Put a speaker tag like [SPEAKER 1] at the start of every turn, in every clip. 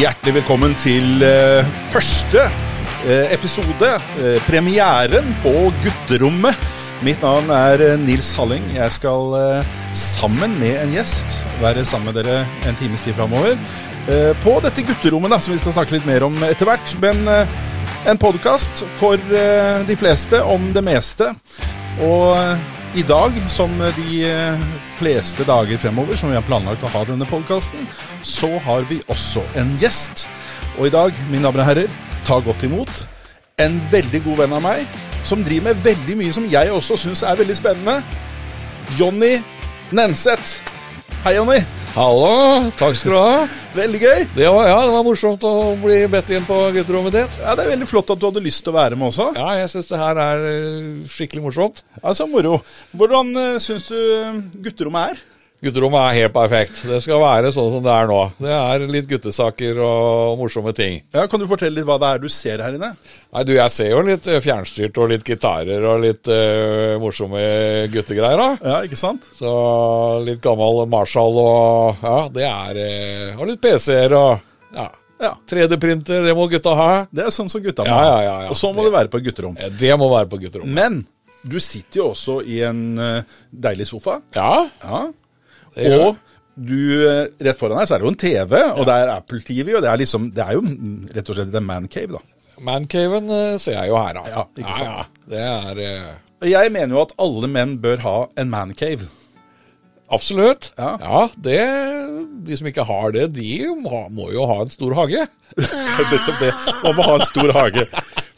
[SPEAKER 1] Hjertelig velkommen til eh, første eh, episode, eh, premieren på Gutterommet. Mitt navn er eh, Nils Halling. Jeg skal eh, sammen med en gjest være sammen med dere en times tid framover. eh, på dette gutterommet, da, som vi skal snakke litt mer om etter hvert. Men eh, en podkast for eh, de fleste om det meste. Og eh, i dag, som de eh, fleste dager fremover som vi har planlagt å ha denne podkasten, så har vi også en gjest. Og i dag, mine damer og herrer, ta godt imot en veldig god venn av meg, som driver med veldig mye som jeg også syns er veldig spennende. Jonny Nenseth. Hei, Jonny.
[SPEAKER 2] Hallo, takk skal du ha.
[SPEAKER 1] Veldig gøy.
[SPEAKER 2] Det var, ja, det var morsomt å bli bedt inn på gutterommet ditt.
[SPEAKER 1] Ja, Det er veldig flott at du hadde lyst til å være med også.
[SPEAKER 2] Ja, jeg syns det her er eh, skikkelig morsomt.
[SPEAKER 1] Altså, moro. Hvordan uh, syns du gutterommet er?
[SPEAKER 2] Gutterommet er helt perfekt. Det skal være sånn som det er nå. Det er litt guttesaker og morsomme ting.
[SPEAKER 1] Ja, Kan du fortelle litt hva det er du ser her inne?
[SPEAKER 2] Nei, du, jeg ser jo litt eh, fjernstyrt og litt gitarer og litt eh, morsomme guttegreier, da.
[SPEAKER 1] Ja, ikke sant?
[SPEAKER 2] Så litt gammel Marshall og Ja, det er eh, Og litt PC-er og Ja.
[SPEAKER 1] Ja.
[SPEAKER 2] 3D-printer, det må gutta ha.
[SPEAKER 1] Det er sånn som gutta må
[SPEAKER 2] Ja,
[SPEAKER 1] ha.
[SPEAKER 2] ja, ja, ja.
[SPEAKER 1] Og sånn må det være på et gutterom.
[SPEAKER 2] Eh, Det må være på gutterommet.
[SPEAKER 1] Men du sitter jo også i en eh, deilig sofa.
[SPEAKER 2] Ja.
[SPEAKER 1] Ja.
[SPEAKER 2] Det gjør
[SPEAKER 1] Og du, eh, rett foran her så er det jo en TV, og det er Apple TV, og det er liksom Det er jo mm, rett og slett en mancave, da.
[SPEAKER 2] Mancaven eh, ser jeg jo her, da.
[SPEAKER 1] Ja, ikke sant?
[SPEAKER 2] Ja, ja. Det er eh,
[SPEAKER 1] Og Jeg mener jo at alle menn bør ha en mancave.
[SPEAKER 2] Absolutt.
[SPEAKER 1] Ja.
[SPEAKER 2] det De som ikke har det, de må, må jo ha en stor hage.
[SPEAKER 1] Nettopp det. Man må ha en stor hage.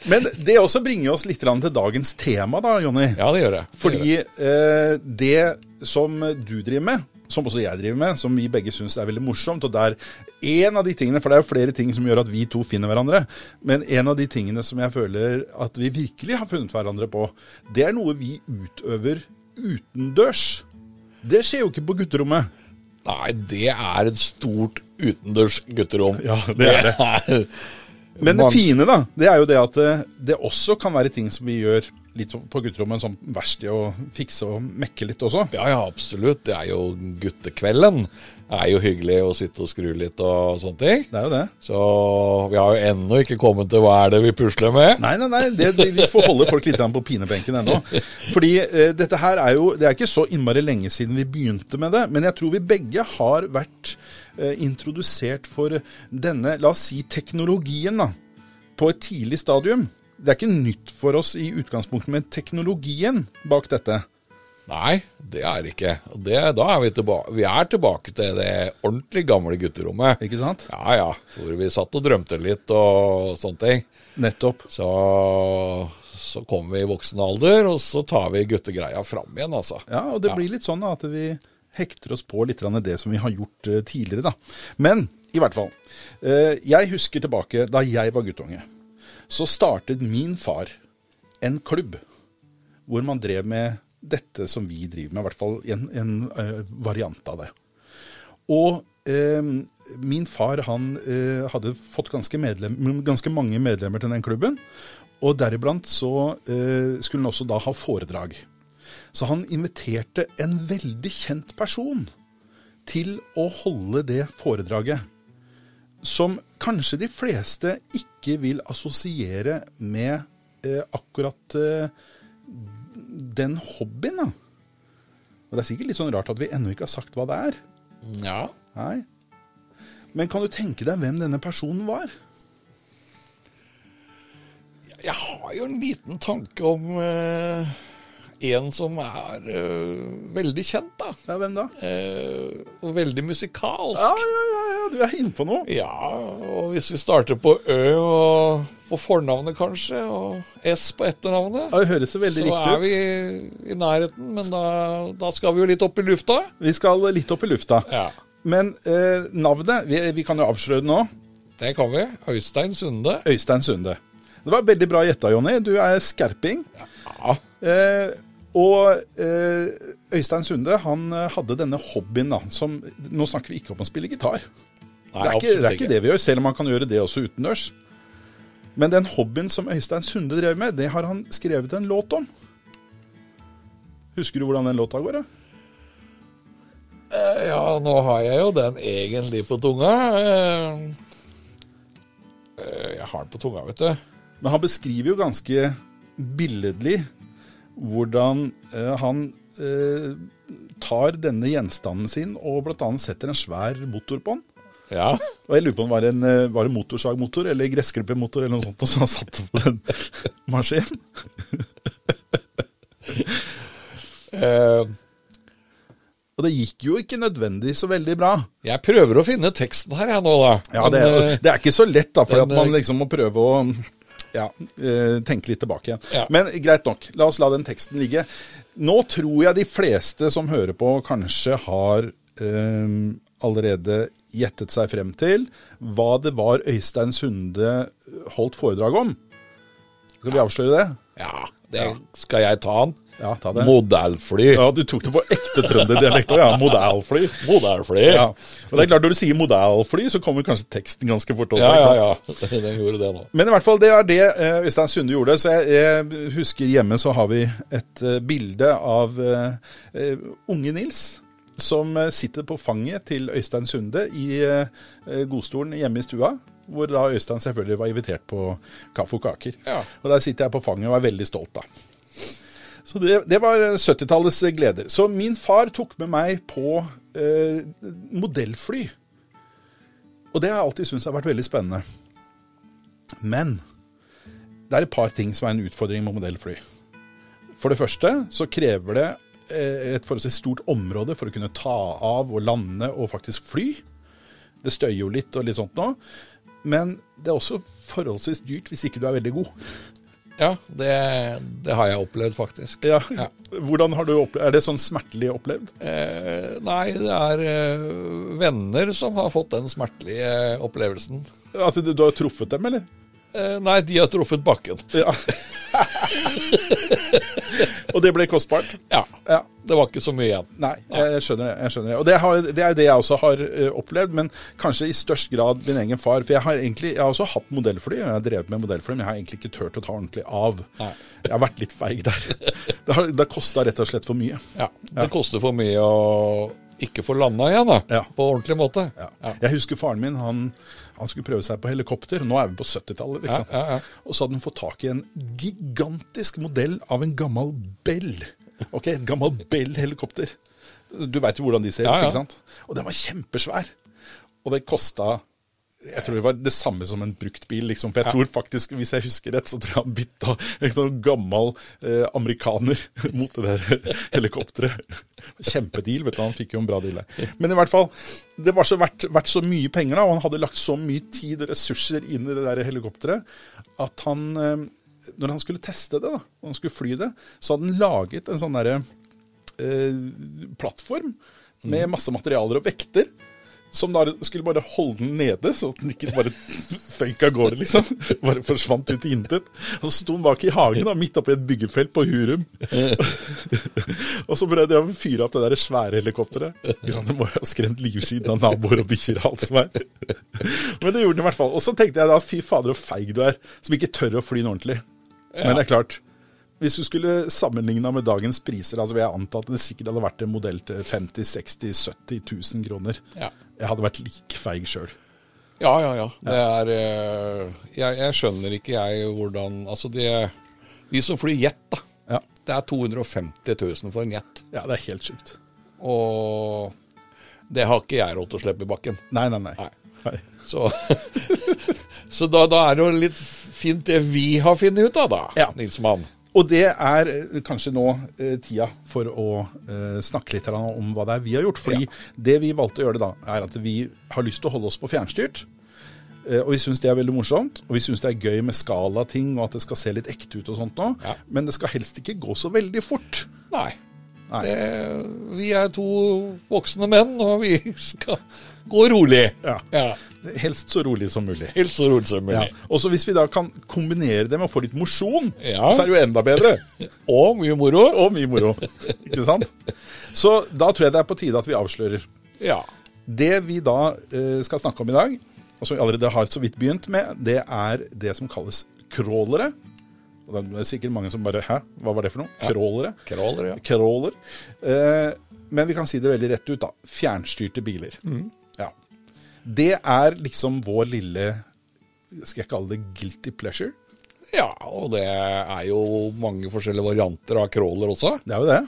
[SPEAKER 1] Men det også bringer oss litt grann til dagens tema, da, Jonny.
[SPEAKER 2] Ja, det gjør det. Det gjør det.
[SPEAKER 1] Fordi eh, det som du driver med, som også jeg driver med, som vi begge syns er veldig morsomt, og det er en av de tingene, for det er jo flere ting som gjør at vi to finner hverandre, men en av de tingene som jeg føler at vi virkelig har funnet hverandre på, det er noe vi utøver utendørs. Det skjer jo ikke på gutterommet.
[SPEAKER 2] Nei, det er et stort utendørs gutterom.
[SPEAKER 1] Ja, det er det.
[SPEAKER 2] er-
[SPEAKER 1] Men det
[SPEAKER 2] Man-
[SPEAKER 1] fine, da, det er jo det at eh, det også kan være ting som vi gjør litt på gutterommet, som verksted og fikse og mekke litt også.
[SPEAKER 2] Ja, ja, absolutt. Det er jo guttekvelden. Det er jo hyggelig å sitte og skru litt og sånne ting.
[SPEAKER 1] Det er jo det.
[SPEAKER 2] Så vi har jo ennå ikke kommet til hva er det vi pusler med.
[SPEAKER 1] Nei, nei, nei, det, det, vi får holde folk litt grann på pinebenken ennå. Fordi eh, dette her er jo Det er ikke så innmari lenge siden vi begynte med det, men jeg tror vi begge har vært eh, introdusert for denne, la oss si, teknologien, da. På et tidlig stadium. Det er ikke nytt for oss i utgangspunktet, men teknologien bak dette.
[SPEAKER 2] Nei, det er ikke. Og Det, da er vi tilbake, vi er tilbake til det ordentlig gamle gutterommet.
[SPEAKER 1] Ikke sant?
[SPEAKER 2] Ja, ja. Hvor vi satt og drømte litt og sånne ting.
[SPEAKER 1] Nettopp.
[SPEAKER 2] Så, så kommer vi i voksen alder, og så tar vi guttegreia fram igjen, altså.
[SPEAKER 1] Ja, og det blir litt sånn da, at vi hekter oss på litt grann det som vi har gjort eh, tidligere, da. Men i hvert fall. eh, Jeg husker tilbake da jeg var guttunge. Så startet min far en klubb hvor man drev med dette som vi driver med, i hvert fall en, en eh, variant av det. Og eh, min far han eh, hadde fått ganske, medlem, ganske mange medlemmer til den klubben. Og deriblant så eh, skulle han også da ha foredrag. Så han inviterte en veldig kjent person til å holde det foredraget. Som kanskje de fleste ikke vil assosiere med eh, akkurat eh, den hobbyen. Da. Og det er sikkert litt sånn rart at vi ennå ikke har sagt hva det er.
[SPEAKER 2] Ja.
[SPEAKER 1] Nei. Men kan du tenke deg hvem denne personen var?
[SPEAKER 2] Jeg har jo en liten tanke om eh, en som er eh, veldig kjent, da.
[SPEAKER 1] Ja, hvem da?
[SPEAKER 2] Eh, og veldig musikalsk.
[SPEAKER 1] Ja, ja, ja, ja du er inne på noe.
[SPEAKER 2] Ja, og hvis vi starter på Ø og på fornavnet kanskje, og S på etternavnet,
[SPEAKER 1] Ja, det høres jo veldig
[SPEAKER 2] så er
[SPEAKER 1] riktig ut.
[SPEAKER 2] vi i nærheten, men da, da skal vi jo litt opp i lufta.
[SPEAKER 1] Vi skal litt opp i lufta.
[SPEAKER 2] Ja,
[SPEAKER 1] Men eh, navnet vi, vi kan jo avsløre det nå.
[SPEAKER 2] det kan vi. Øystein Sunde.
[SPEAKER 1] Øystein Sunde. Det var veldig bra gjetta, Jonny. Du er skerping.
[SPEAKER 2] Ja,
[SPEAKER 1] Eh, og eh, Øystein Sunde han eh, hadde denne hobbyen da, som Nå snakker vi ikke om å spille gitar. det, er ikke,
[SPEAKER 2] nei,
[SPEAKER 1] det er
[SPEAKER 2] absolutt
[SPEAKER 1] ikke det vi gjør, selv om han kan gjøre det også utendørs. Men den hobbyen som Øystein Sunde drev med, det har han skrevet en låt om. Husker du hvordan den låta går? da?
[SPEAKER 2] Eh, Ja, nå har jeg jo den egentlig på tunga. eh, Eh, Jeg har den på tunga, vet du.
[SPEAKER 1] Men han beskriver jo ganske billedlig hvordan eh, han eh, tar denne gjenstanden sin og bl.a. setter en svær motor på den.
[SPEAKER 2] Ja.
[SPEAKER 1] Og jeg lurer på om det var en, eh, var det en motorsagmotor eller gressklippermotor eller noe sånt, og så han satte på den maskinen.
[SPEAKER 2] Eh,
[SPEAKER 1] Og det gikk jo ikke nødvendig så veldig bra.
[SPEAKER 2] Jeg prøver å finne teksten her, jeg nå, da.
[SPEAKER 1] Ja, det,
[SPEAKER 2] Men,
[SPEAKER 1] er,
[SPEAKER 2] eh,
[SPEAKER 1] det er ikke så lett, da, for
[SPEAKER 2] men,
[SPEAKER 1] at man
[SPEAKER 2] eh,
[SPEAKER 1] liksom må prøve å ja, eh, tenke litt tilbake igjen.
[SPEAKER 2] Ja.
[SPEAKER 1] Men greit nok, la oss la den teksten ligge. Nå tror jeg de fleste som hører på, kanskje har eh, allerede gjettet seg frem til hva det var Øystein Sunde holdt foredrag om. Skal vi avsløre det?
[SPEAKER 2] Ja, det skal jeg ta den.
[SPEAKER 1] Ja, ta det.
[SPEAKER 2] Modellfly.
[SPEAKER 1] Ja, du tok det på ekte trønderdialekt òg, ja. Modalfly.
[SPEAKER 2] Modellfly.
[SPEAKER 1] Ja. Og det er klart, når du sier modalfly, så kommer kanskje teksten ganske fort også.
[SPEAKER 2] ja,
[SPEAKER 1] ikke sant?
[SPEAKER 2] ja. ja. Den gjorde det nå.
[SPEAKER 1] Men i hvert fall, det er det eh, Øystein Sunde gjorde. Så jeg, jeg husker hjemme så har vi et eh, bilde av eh, eh, unge Nils. Som eh, sitter på fanget til Øystein Sunde i eh, eh, godstolen hjemme i stua. Hvor da Øystein selvfølgelig var invitert på kaffe og kaker.
[SPEAKER 2] Ja.
[SPEAKER 1] Og der sitter jeg på fanget og er veldig stolt, da. Så det, det var 70-tallets gleder. Så min far tok med meg på eh, modellfly. Og det har jeg alltid syntes har vært veldig spennende. Men det er et par ting som er en utfordring med modellfly. For det første så krever det eh, et forholdsvis stort område for å kunne ta av og lande og faktisk fly. Det støyer jo litt og litt sånt nå. Men det er også forholdsvis dyrt hvis ikke du er veldig god.
[SPEAKER 2] Ja, det, det har jeg opplevd, faktisk.
[SPEAKER 1] Ja.
[SPEAKER 2] Ja.
[SPEAKER 1] Hvordan har du opplevd, Er det sånn smertelig opplevd?
[SPEAKER 2] Eh, nei, det er eh, venner som har fått den smertelige opplevelsen.
[SPEAKER 1] At du, du har truffet dem, eller?
[SPEAKER 2] Eh, nei, de har truffet bakken.
[SPEAKER 1] Ja. og det ble kostbart?
[SPEAKER 2] Ja.
[SPEAKER 1] Ja.
[SPEAKER 2] Det var ikke så mye igjen.
[SPEAKER 1] Nei, jeg, jeg skjønner det. jeg skjønner Det Og det, har, det er jo det jeg også har eh, opplevd, men kanskje i størst grad min egen far. For jeg har egentlig, jeg har også hatt modellfly, og jeg har drevet med modellfly, men jeg har egentlig ikke turt å ta ordentlig av.
[SPEAKER 2] Nei.
[SPEAKER 1] Jeg har vært litt feig der. Det har, det har kosta rett og slett for mye.
[SPEAKER 2] Ja, Det koster for mye å ikke få landa igjen, da.
[SPEAKER 1] Ja.
[SPEAKER 2] På ordentlig måte.
[SPEAKER 1] Ja.
[SPEAKER 2] Ja.
[SPEAKER 1] Jeg husker faren min, han, han skulle prøve seg på helikopter. Nå er vi på 70-tallet, liksom.
[SPEAKER 2] Ja, ja, ja.
[SPEAKER 1] Og så hadde han fått tak i en gigantisk modell av en gammel Bell. Ok, et gammel Bell-helikopter. Du veit jo hvordan de ser ut,
[SPEAKER 2] Ja, ja.
[SPEAKER 1] ikke sant? Og den var kjempesvær. Og det kosta jeg tror det var det samme som en bruktbil, liksom. For jeg tror faktisk, hvis jeg husker rett, så tror jeg han bytta en sånn gammel eh, amerikaner mot det der helikopteret. Kjempedeal, vet du. Han fikk jo en bra deal der. Men i hvert fall, det var så verdt, verdt så mye penger, da, og han hadde lagt så mye tid og ressurser inn i det der helikopteret, at han eh, Når han skulle teste det, da, når han skulle fly det, så hadde han laget en sånn derre eh, plattform med masse materialer og vekter. Som da skulle bare holde den nede, så at den ikke bare føyk av gårde, liksom. Bare forsvant ut i intet. Og så sto den bak i hagen, da, midt oppi et byggefelt på Hurum. og så prøvde jeg å fyre opp det der svære helikopteret. Ikke sant, Det må jo ha skremt livsiden av naboer og bikkjer og alt som er. Men det gjorde den i hvert fall. Og så tenkte jeg da, fy fader så feig du er, som ikke tør å fly den ordentlig. Men det er klart, hvis du skulle sammenligna med dagens priser, altså vil jeg anta at det sikkert hadde vært en modell til 50 60 70 000 kroner.
[SPEAKER 2] Ja.
[SPEAKER 1] Jeg hadde vært like feig sjøl.
[SPEAKER 2] Ja, ja, ja. Det er eh, jeg, jeg skjønner ikke jeg hvordan Altså, de, de som flyr jet, da.
[SPEAKER 1] Ja.
[SPEAKER 2] Det er 250 000 for en jet.
[SPEAKER 1] ja, det er helt sjukt.
[SPEAKER 2] Og det har ikke jeg råd til å slippe i bakken.
[SPEAKER 1] Nei, nei, nei.
[SPEAKER 2] Nei.
[SPEAKER 1] Nei.
[SPEAKER 2] Så, så da, da er det jo litt fint det vi har funnet ut av, da,
[SPEAKER 1] Ja.
[SPEAKER 2] Nils Mann.
[SPEAKER 1] Og det er eh, kanskje nå eh, tida for å eh, snakke litt grann om hva det er vi har gjort. Fordi
[SPEAKER 2] Ja.
[SPEAKER 1] det vi valgte å gjøre da, er at vi har lyst til å holde oss på fjernstyrt. Eh, og vi syns det er veldig morsomt. Og vi syns det er gøy med skalating og at det skal se litt ekte ut og sånt nå.
[SPEAKER 2] Ja.
[SPEAKER 1] Men det skal helst ikke gå så veldig fort.
[SPEAKER 2] Nei.
[SPEAKER 1] Nei.
[SPEAKER 2] Det, vi er to voksne menn, og vi skal gå rolig.
[SPEAKER 1] Ja. Helst så rolig som mulig.
[SPEAKER 2] Helt så rolig som
[SPEAKER 1] Ja.
[SPEAKER 2] mulig.
[SPEAKER 1] Og så Hvis vi da kan kombinere det med å få litt mosjon,
[SPEAKER 2] Ja.
[SPEAKER 1] så er det jo enda bedre.
[SPEAKER 2] Og mye moro.
[SPEAKER 1] Og mye moro. Ikke sant? Så da tror jeg det er på tide at vi avslører.
[SPEAKER 2] Ja.
[SPEAKER 1] Det vi da eh, skal snakke om i dag, og som vi allerede har så vidt begynt med, det er det som kalles crawlere. Og det er sikkert mange som bare Hæ, hva var det for noe? Crawlere.
[SPEAKER 2] Crawler, ja.
[SPEAKER 1] Crawler. Eh, men vi kan si det veldig rett ut, da.
[SPEAKER 2] Mm.
[SPEAKER 1] Fjernstyrte biler. Ja. Det er liksom vår lille skal jeg kalle det guilty pleasure?
[SPEAKER 2] Ja, og det er jo mange forskjellige varianter av crawler også.
[SPEAKER 1] Det er jo det.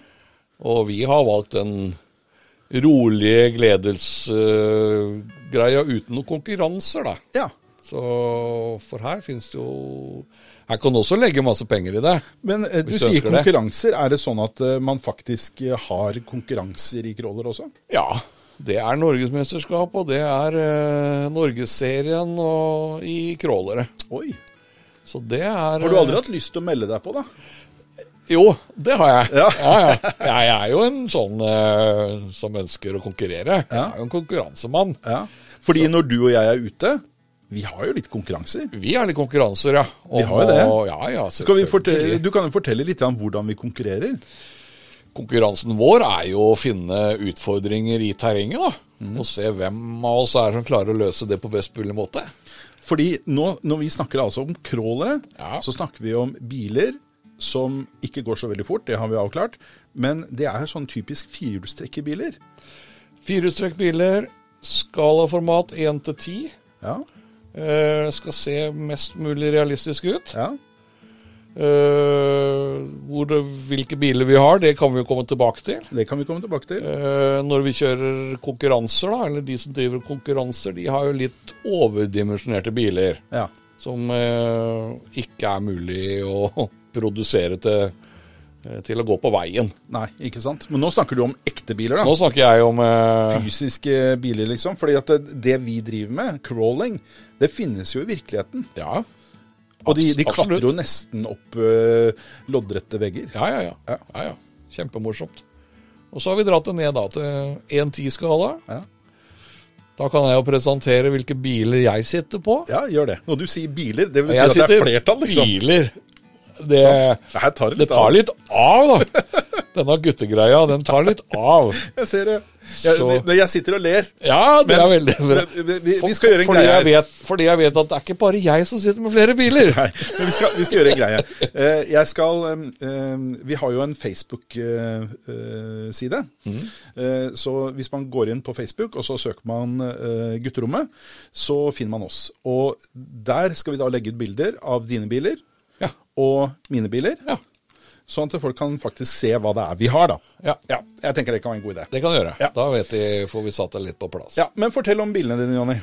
[SPEAKER 2] Og vi har valgt den rolige gledelsesgreia uten noen konkurranser, da.
[SPEAKER 1] Ja.
[SPEAKER 2] Så for her finnes det jo Her kan du også legge masse penger i det.
[SPEAKER 1] Men eh, du
[SPEAKER 2] Hvis du
[SPEAKER 1] sier
[SPEAKER 2] ønsker det.
[SPEAKER 1] konkurranser. Er det sånn at eh, man faktisk eh, har konkurranser i crawler også?
[SPEAKER 2] Ja. Det er norgesmesterskap, og det er eh, norgesserien og i crawlere.
[SPEAKER 1] Oi.
[SPEAKER 2] Så det er
[SPEAKER 1] Har
[SPEAKER 2] eh,
[SPEAKER 1] du aldri hatt lyst til å melde deg på, da?
[SPEAKER 2] Jo, det har jeg.
[SPEAKER 1] Ja.
[SPEAKER 2] Ja, ja. Jeg er jo en sånn eh, som ønsker å konkurrere. Jeg
[SPEAKER 1] Ja.
[SPEAKER 2] er jo en konkurransemann.
[SPEAKER 1] Ja. Fordi når du og jeg er ute, vi har jo litt konkurranser.
[SPEAKER 2] Vi er litt konkurranser, ja. Om
[SPEAKER 1] Vi har jo det.
[SPEAKER 2] å- Ja, ja,
[SPEAKER 1] Skal vi
[SPEAKER 2] selvfølgelig.
[SPEAKER 1] fortelle, du kan jo fortelle litt om hvordan vi konkurrerer.
[SPEAKER 2] Konkurransen vår er jo å finne utfordringer i terrenget, da. Og se hvem av oss er som klarer å løse det på best mulig måte.
[SPEAKER 1] Fordi nå, når vi snakker altså om crawlere,
[SPEAKER 2] Ja.
[SPEAKER 1] så snakker vi om biler som ikke går så veldig fort, det har vi avklart. Men det er sånn typisk firehjulstrekkerbiler.
[SPEAKER 2] Firehjulstrekkbiler, skalaformat 1 til 10.
[SPEAKER 1] Ja,
[SPEAKER 2] eh, Skal se mest mulig realistisk ut.
[SPEAKER 1] ja,
[SPEAKER 2] Eh, hvor, det- hvilke biler vi har, det kan vi jo komme tilbake til.
[SPEAKER 1] det kan vi komme tilbake til.
[SPEAKER 2] Eh, Når vi kjører konkurranser, da, eller de som driver konkurranser, de har jo litt overdimensjonerte biler.
[SPEAKER 1] Ja,
[SPEAKER 2] som eh, ikke er mulig å produsere til, eh, til å gå på veien.
[SPEAKER 1] Nei, ikke sant. Men nå snakker du om ekte biler, da.
[SPEAKER 2] Nå snakker jeg om eh,
[SPEAKER 1] Fysiske biler, liksom. Fordi at det, det vi driver med, crawling, det finnes jo i virkeligheten.
[SPEAKER 2] ja,
[SPEAKER 1] Og de, de
[SPEAKER 2] Abs-
[SPEAKER 1] klatrer jo
[SPEAKER 2] absolutt.
[SPEAKER 1] nesten opp øh, loddrette vegger.
[SPEAKER 2] ja, ja, ja,
[SPEAKER 1] Ja.
[SPEAKER 2] ja, ja. Kjempemorsomt. Og så har vi dratt det ned da til 1.10-skala.
[SPEAKER 1] Ja.
[SPEAKER 2] Da kan jeg jo presentere hvilke biler jeg sitter på.
[SPEAKER 1] Ja, gjør det. Når du sier biler, det betyr
[SPEAKER 2] jeg
[SPEAKER 1] at det
[SPEAKER 2] sitter
[SPEAKER 1] er flertall, liksom. Sånn.
[SPEAKER 2] biler. Det,
[SPEAKER 1] Det her tar
[SPEAKER 2] det
[SPEAKER 1] litt
[SPEAKER 2] tar
[SPEAKER 1] av.
[SPEAKER 2] litt av, da. Denne guttegreia, den tar litt av.
[SPEAKER 1] Jeg ser det. Jeg,
[SPEAKER 2] Så-
[SPEAKER 1] når jeg sitter og ler.
[SPEAKER 2] Ja, det er veldig bra.
[SPEAKER 1] Men vi, vi, vi skal gjøre en
[SPEAKER 2] fordi
[SPEAKER 1] greie
[SPEAKER 2] jeg,
[SPEAKER 1] her.
[SPEAKER 2] vet, fordi jeg vet at det er ikke bare jeg som sitter med flere biler.
[SPEAKER 1] Nei, men vi skal, vi skal gjøre en greie. Eh, Jeg skal eh, eh, Vi har jo en eh, Facebook-side.
[SPEAKER 2] Mhm.
[SPEAKER 1] Eh, Så hvis man går inn på Facebook og så søker man eh, Gutterommet, så finner man oss. Og der skal vi da legge ut bilder av dine biler
[SPEAKER 2] Ja,
[SPEAKER 1] og mine biler.
[SPEAKER 2] ja,
[SPEAKER 1] Sånn at folk kan faktisk se hva det er vi har, da.
[SPEAKER 2] ja.
[SPEAKER 1] Ja, jeg tenker det kan være en god idé.
[SPEAKER 2] Det kan du gjøre.
[SPEAKER 1] Ja.
[SPEAKER 2] Da vet de, får vi satt det litt på plass.
[SPEAKER 1] Ja, Men fortell om bilene dine, Jonny.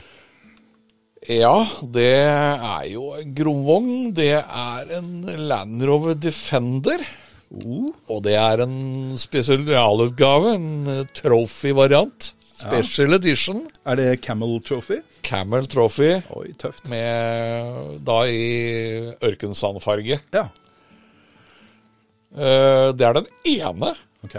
[SPEAKER 2] Ja, det er jo en grovvogn. Det er en Land Rover Defender.
[SPEAKER 1] Uh.
[SPEAKER 2] Og det er en spesialutgave, en trophy-variant. Special edition.
[SPEAKER 1] Er det Camel Trophy?
[SPEAKER 2] Camel Trophy
[SPEAKER 1] Oi, tøft.
[SPEAKER 2] med da i ørkensandfarge.
[SPEAKER 1] Ja,
[SPEAKER 2] Eh, Det er den ene.
[SPEAKER 1] ok.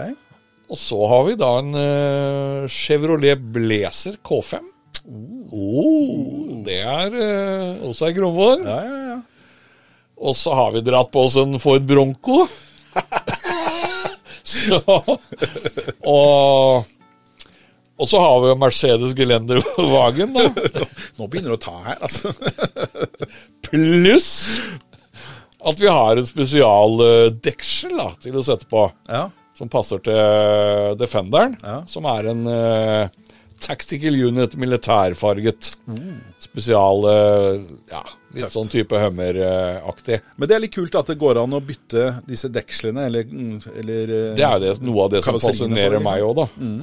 [SPEAKER 2] Og så har vi da en eh, Chevrolet Blazer K5. Oh, det er eh, også en gromvår.
[SPEAKER 1] Ja, ja, ja.
[SPEAKER 2] Og så har vi dratt på oss en Ford Bronco. så Og og så har vi jo Mercedes Gelenderwagen, da.
[SPEAKER 1] Nå begynner det å ta her, altså.
[SPEAKER 2] Pluss at vi har en spesialdeksel da, til å sette på.
[SPEAKER 1] Ja,
[SPEAKER 2] som passer til eh, Defenderen,
[SPEAKER 1] Ja.
[SPEAKER 2] som er en eh, tactical unit militærfarget. Spesial eh, ja, litt sånn type Hummer-aktig.
[SPEAKER 1] Men det er litt kult at det går an å bytte disse dekslene, eller, eller eh,
[SPEAKER 2] Det er jo det, noe av det som
[SPEAKER 1] Karosseriene bare,
[SPEAKER 2] fascinerer
[SPEAKER 1] liksom.
[SPEAKER 2] meg òg,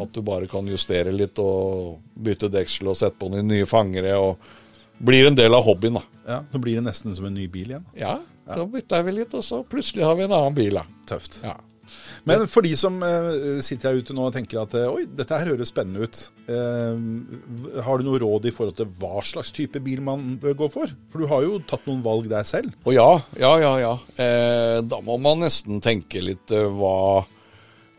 [SPEAKER 2] da. At du bare kan justere litt og bytte deksel og sette på noen nye fangere. og Blir en del av hobbyen, da.
[SPEAKER 1] ja, Nå blir det nesten som en ny bil igjen.
[SPEAKER 2] Ja, da bytta vi litt, og så plutselig har vi en annen bil, da.
[SPEAKER 1] Tøft.
[SPEAKER 2] Ja.
[SPEAKER 1] Men for de som eh, sitter her ute nå og tenker at eh, oi, dette her høres spennende ut. Eh, har du noe råd i forhold til hva slags type bil man bør gå for? For du har jo tatt noen valg der selv.
[SPEAKER 2] Å ja, ja, ja, ja. Eh, da må man nesten tenke litt eh, hva,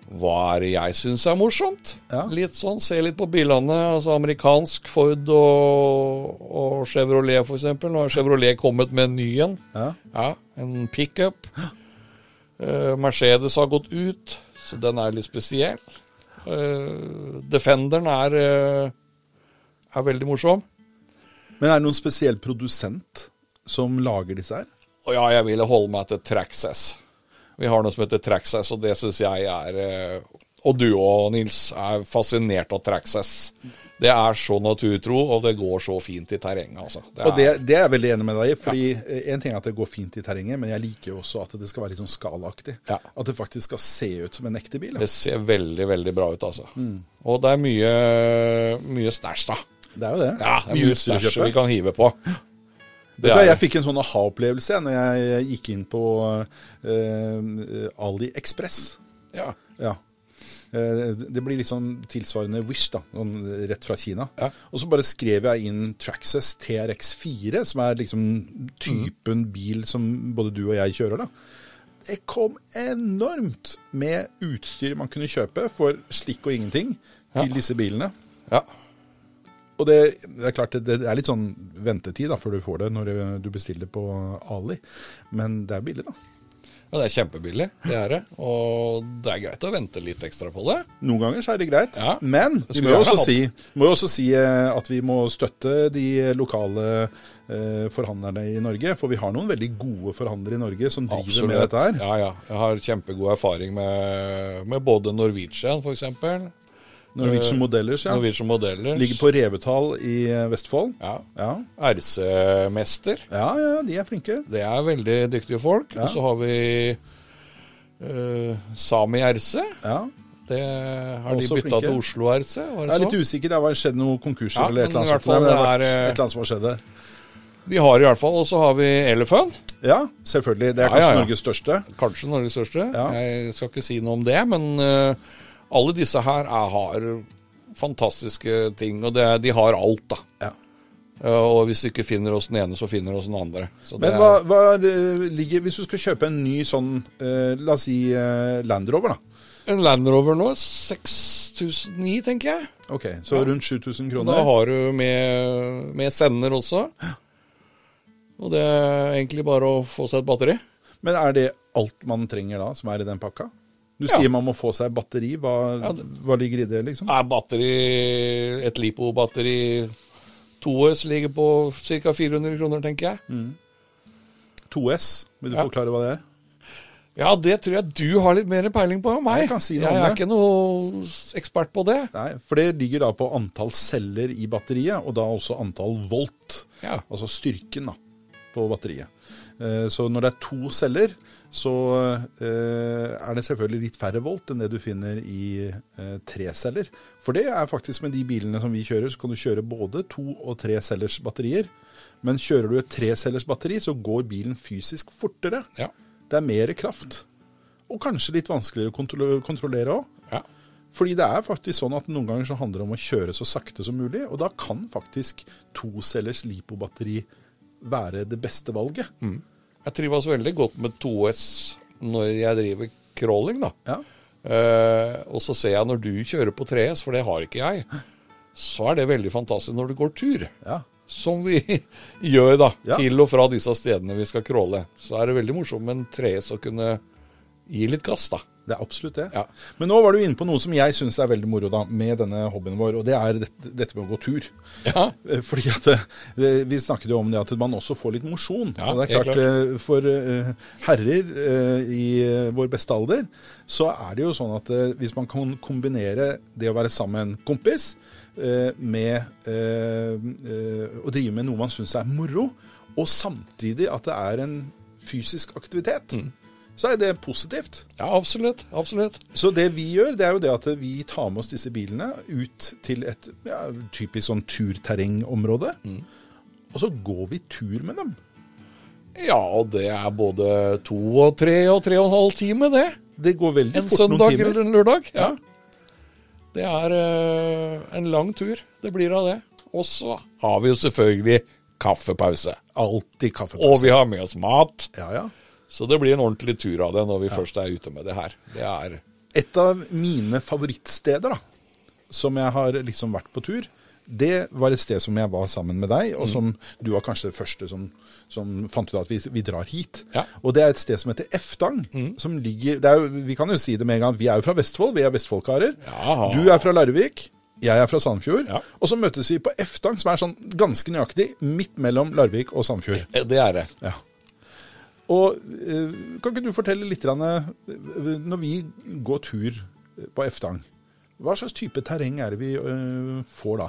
[SPEAKER 2] hva er det jeg syns er morsomt?
[SPEAKER 1] Ja.
[SPEAKER 2] Litt sånn, se litt på bilene. Altså amerikansk Ford og, og Chevrolet f.eks. Nå har Chevrolet kommet med en ny en.
[SPEAKER 1] Ja.
[SPEAKER 2] Ja, en pickup. Eh, Mercedes har gått ut, så den er litt spesiell. Eh, Defenderen er, eh, er veldig morsom.
[SPEAKER 1] Men er det noen spesiell produsent som lager disse her?
[SPEAKER 2] Og ja, jeg ville holde meg til Traxxas. Vi har noe som heter Traxxas, og det syns jeg er eh, og du òg, Nils, er fascinert av Traxxas. Det er så naturtro, og det går så fint i terrenget, altså. Det
[SPEAKER 1] Og det,
[SPEAKER 2] er,
[SPEAKER 1] det er jeg veldig enig med deg i. fordi eh, En ting er at det går fint i terrenget, men jeg liker jo også at det skal være litt sånn skalaaktig.
[SPEAKER 2] Ja.
[SPEAKER 1] At det faktisk skal se ut som en ekte bil. Ja.
[SPEAKER 2] det ser veldig, veldig bra ut, altså.
[SPEAKER 1] Mm.
[SPEAKER 2] Og det er mye, mye stæsj, da.
[SPEAKER 1] Det er jo det.
[SPEAKER 2] Ja, det er mye
[SPEAKER 1] utstyr å
[SPEAKER 2] stæsj
[SPEAKER 1] kjøpe.
[SPEAKER 2] vi kan hive på.
[SPEAKER 1] Vet du hva,
[SPEAKER 2] er-
[SPEAKER 1] Jeg fikk en sånn aha-opplevelse jeg, når jeg gikk inn på eh, eh, AliExpress.
[SPEAKER 2] ja.
[SPEAKER 1] Ja. Eh, Det blir litt sånn tilsvarende Wish, da, sånn rett fra Kina.
[SPEAKER 2] Ja.
[SPEAKER 1] Og så bare skrev jeg inn Traxxas TRX4, som er liksom typen bil som både du og jeg kjører, da. Det kom enormt med utstyr man kunne kjøpe for slikk og ingenting til disse bilene.
[SPEAKER 2] ja.
[SPEAKER 1] Og det, det er klart, det, det er litt sånn ventetid da, før du får det når du- du bestiller på Ali, men det er billig, da.
[SPEAKER 2] Ja, det er kjempebillig, det er det. Og det er greit å vente litt ekstra på det.
[SPEAKER 1] Noen ganger så er det greit,
[SPEAKER 2] Ja,
[SPEAKER 1] men
[SPEAKER 2] det
[SPEAKER 1] vi må
[SPEAKER 2] skulle
[SPEAKER 1] jo også,
[SPEAKER 2] gjerne hatt.
[SPEAKER 1] si, må jo også si eh, at vi må støtte de lokale eh, forhandlerne i Norge. For vi har noen veldig gode forhandlere i Norge som driver med dette her.
[SPEAKER 2] Ja, ja. Jeg har kjempegod erfaring med, med både Norwegian, for eksempel.
[SPEAKER 1] Norwegian Modellers, ja.
[SPEAKER 2] Norwegian Modellers.
[SPEAKER 1] Ligger på Revetal i eh, Vestfold.
[SPEAKER 2] ja.
[SPEAKER 1] Ja.
[SPEAKER 2] RC-mester.
[SPEAKER 1] ja, ja, de er flinke.
[SPEAKER 2] Det er veldig dyktige folk.
[SPEAKER 1] Ja.
[SPEAKER 2] Og så har vi eh, Sami RC.
[SPEAKER 1] Ja.
[SPEAKER 2] Det har
[SPEAKER 1] Også
[SPEAKER 2] de bytta
[SPEAKER 1] flinke.
[SPEAKER 2] til Oslo RC. Var
[SPEAKER 1] Jeg
[SPEAKER 2] det
[SPEAKER 1] er litt
[SPEAKER 2] så?
[SPEAKER 1] usikker, det har skjedd noen konkurser
[SPEAKER 2] Ja,
[SPEAKER 1] eller et eller
[SPEAKER 2] men i
[SPEAKER 1] annet
[SPEAKER 2] hvert
[SPEAKER 1] sånt.
[SPEAKER 2] fall
[SPEAKER 1] Det har vært
[SPEAKER 2] det
[SPEAKER 1] et
[SPEAKER 2] er, eh,
[SPEAKER 1] eller annet som har skjedd der.
[SPEAKER 2] Vi har i hvert fall. Og så har vi Elephant.
[SPEAKER 1] Ja, selvfølgelig. Det er
[SPEAKER 2] Ja,
[SPEAKER 1] kanskje
[SPEAKER 2] ja, ja.
[SPEAKER 1] Norges største.
[SPEAKER 2] Kanskje Norges største.
[SPEAKER 1] Ja.
[SPEAKER 2] Jeg skal ikke si noe om det, men eh, alle disse her er, har fantastiske ting, og det, de har alt, da.
[SPEAKER 1] Ja.
[SPEAKER 2] Eh, og hvis du ikke finner oss den ene, så finner du oss den andre. Så det
[SPEAKER 1] Men hva, hva eh, ligger Hvis du skal kjøpe en ny sånn, eh, la oss si eh, Land Rover, da.
[SPEAKER 2] er en Land Rover nå, 6009, tenker jeg.
[SPEAKER 1] Ok, Så rundt 7000
[SPEAKER 2] Da
[SPEAKER 1] kroner.
[SPEAKER 2] har du med, med sender også. Og det er egentlig bare å få seg et batteri.
[SPEAKER 1] Men er det alt man trenger da, som er i den pakka? Du
[SPEAKER 2] Ja.
[SPEAKER 1] sier man må få seg batteri. Hva,
[SPEAKER 2] Ja, det-
[SPEAKER 1] hva ligger i det, liksom?
[SPEAKER 2] Er batteri et Lipo-batteri 2S ligger på ca. 400 kroner, tenker jeg.
[SPEAKER 1] Mm. 2S. Vil du
[SPEAKER 2] Ja.
[SPEAKER 1] forklare hva det er?
[SPEAKER 2] Ja, det tror jeg du har litt mer peiling på enn meg.
[SPEAKER 1] Jeg kan si noe om
[SPEAKER 2] er
[SPEAKER 1] det.
[SPEAKER 2] ikke noe ekspert på det.
[SPEAKER 1] Nei, For det ligger da på antall celler i batteriet, og da også antall volt.
[SPEAKER 2] Ja.
[SPEAKER 1] Altså styrken da, på batteriet. Eh, Så når det er to celler, så eh, er det selvfølgelig litt færre volt enn det du finner i eh, tre celler. For det er faktisk med de bilene som vi kjører, så kan du kjøre både to og tre cellers batterier. Men kjører du et trecellers batteri, så går bilen fysisk fortere.
[SPEAKER 2] Ja.
[SPEAKER 1] Det er mer kraft. Og kanskje litt vanskeligere å kontro- kontrollere òg.
[SPEAKER 2] ja.
[SPEAKER 1] Fordi det er faktisk sånn at noen ganger så handler det om å kjøre så sakte som mulig, og da kan faktisk tocellers lipobatteri være det beste valget.
[SPEAKER 2] Mm. Jeg trives veldig godt med 2S når jeg driver crawling, da.
[SPEAKER 1] Ja.
[SPEAKER 2] Eh, og så ser jeg når du kjører på 3S, for det har ikke jeg, så er det veldig fantastisk når du går tur.
[SPEAKER 1] Ja.
[SPEAKER 2] Som vi gjør, da.
[SPEAKER 1] Ja.
[SPEAKER 2] Til og fra disse stedene vi skal crawle. Så er det veldig morsomt med en 3S å kunne gi litt gass, da.
[SPEAKER 1] Det er absolutt det.
[SPEAKER 2] Ja.
[SPEAKER 1] Men nå var du inne på noe som jeg syns er veldig moro da, med denne hobbyen vår, og det er dette, dette med å gå tur.
[SPEAKER 2] Ja.
[SPEAKER 1] Eh, Fordi at eh, Vi snakket jo om det at man også får litt mosjon.
[SPEAKER 2] Ja,
[SPEAKER 1] og det er
[SPEAKER 2] helt
[SPEAKER 1] klart, eh, For eh, herrer eh, i eh, vår beste alder, så er det jo sånn at eh, hvis man kan kombinere det å være sammen med en kompis eh, med eh, eh, å drive med noe man syns er moro, og samtidig at det er en fysisk aktivitet,
[SPEAKER 2] Mm.
[SPEAKER 1] så er det positivt.
[SPEAKER 2] ja, absolutt. Absolutt.
[SPEAKER 1] Så det vi gjør, det er jo det at vi tar med oss disse bilene ut til et ja, typisk sånn turterrengområde. Og så går vi tur med dem.
[SPEAKER 2] Ja, og det er både to og tre og tre og en halv time, det.
[SPEAKER 1] Det går veldig
[SPEAKER 2] En
[SPEAKER 1] fort
[SPEAKER 2] søndag
[SPEAKER 1] noen timer.
[SPEAKER 2] eller en lørdag. Ja.
[SPEAKER 1] Ja.
[SPEAKER 2] Det er eh, en lang tur. Det blir av det. Og så har vi jo selvfølgelig kaffepause.
[SPEAKER 1] Alltid
[SPEAKER 2] Og
[SPEAKER 1] kaffepause.
[SPEAKER 2] vi har med oss mat.
[SPEAKER 1] Ja, ja.
[SPEAKER 2] Så det blir en ordentlig tur av det når vi først er ute med det her. Det er
[SPEAKER 1] Et av mine favorittsteder da, som jeg har liksom vært på tur, det var et sted som jeg var sammen med deg,
[SPEAKER 2] Mm.
[SPEAKER 1] og som du var kanskje det første som, som fant ut at vi, vi drar hit.
[SPEAKER 2] Ja. Mm.
[SPEAKER 1] Og det er et sted som heter Eftang, som ligger det er, jo- Vi kan jo si det med en gang, vi er jo fra Vestfold, vi er Vestfoldkarer.
[SPEAKER 2] Ja.
[SPEAKER 1] Du er fra Larvik. Jeg er fra Sandfjord.
[SPEAKER 2] Ja.
[SPEAKER 1] Og så møtes vi på Eftang, som er sånn ganske nøyaktig midt mellom Larvik og Sandfjord.
[SPEAKER 2] eh, det. Er det.
[SPEAKER 1] Ja. Og eh, kan ikke du fortelle litt grann, eh, Når vi går tur på Eftang, hva slags type terreng er det vi eh, får da?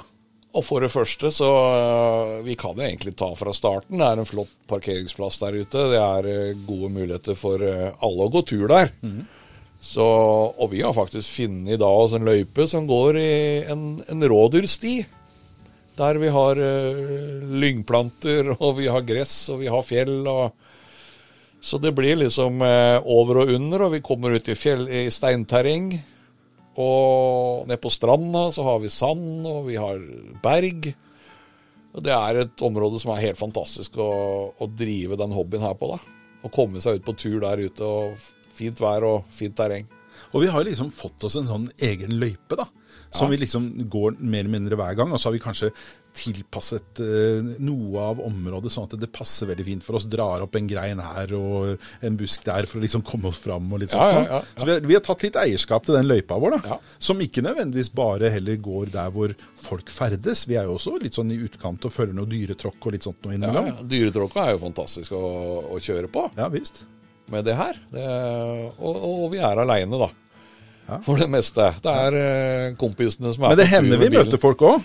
[SPEAKER 2] Og for det første, så øh, Vi kan jo egentlig ta fra starten. Det er en flott parkeringsplass der ute. Det er øh, gode muligheter for øh, alle å gå tur der. Så, og vi har faktisk funnet i dag oss en løype som går i en, en rådyrsti. Der vi har øh, lyngplanter, og vi har gress, og vi har fjell. og... Så det blir liksom eh, over og under, og vi kommer ut i, fjell, i steinterreng. Og nede på stranda så har vi sand, og vi har berg. Og det er et område som er helt fantastisk å, å drive den hobbyen her på, da. Å komme seg ut på tur der ute, og f- fint vær og fint terreng.
[SPEAKER 1] Og vi har liksom fått oss en sånn egen løype, da. Som
[SPEAKER 2] Ja.
[SPEAKER 1] vi liksom går mer eller mindre hver gang. Og så har vi kanskje tilpasset eh, noe av området sånn at det passer veldig fint for oss. Drar opp en grein her og en busk der for å liksom komme oss fram og litt sånt.
[SPEAKER 2] Ja, ja,
[SPEAKER 1] da.
[SPEAKER 2] ja, ja.
[SPEAKER 1] Så vi har, vi har tatt litt eierskap til den løypa vår, da.
[SPEAKER 2] Ja.
[SPEAKER 1] Som ikke nødvendigvis bare heller går der hvor folk ferdes. Vi er jo også litt sånn i utkant og følger noe dyretråkk og litt sånt noe
[SPEAKER 2] Ja,
[SPEAKER 1] innimellom.
[SPEAKER 2] ja. Dyretråkka er jo fantastisk å, å kjøre på.
[SPEAKER 1] Ja visst.
[SPEAKER 2] med det her. Det, og, og vi er aleine, da.
[SPEAKER 1] Ja.
[SPEAKER 2] For det meste. Det er eh, kompisene som er
[SPEAKER 1] Men det
[SPEAKER 2] på tur
[SPEAKER 1] hender
[SPEAKER 2] med
[SPEAKER 1] vi
[SPEAKER 2] bilen.
[SPEAKER 1] møter folk òg.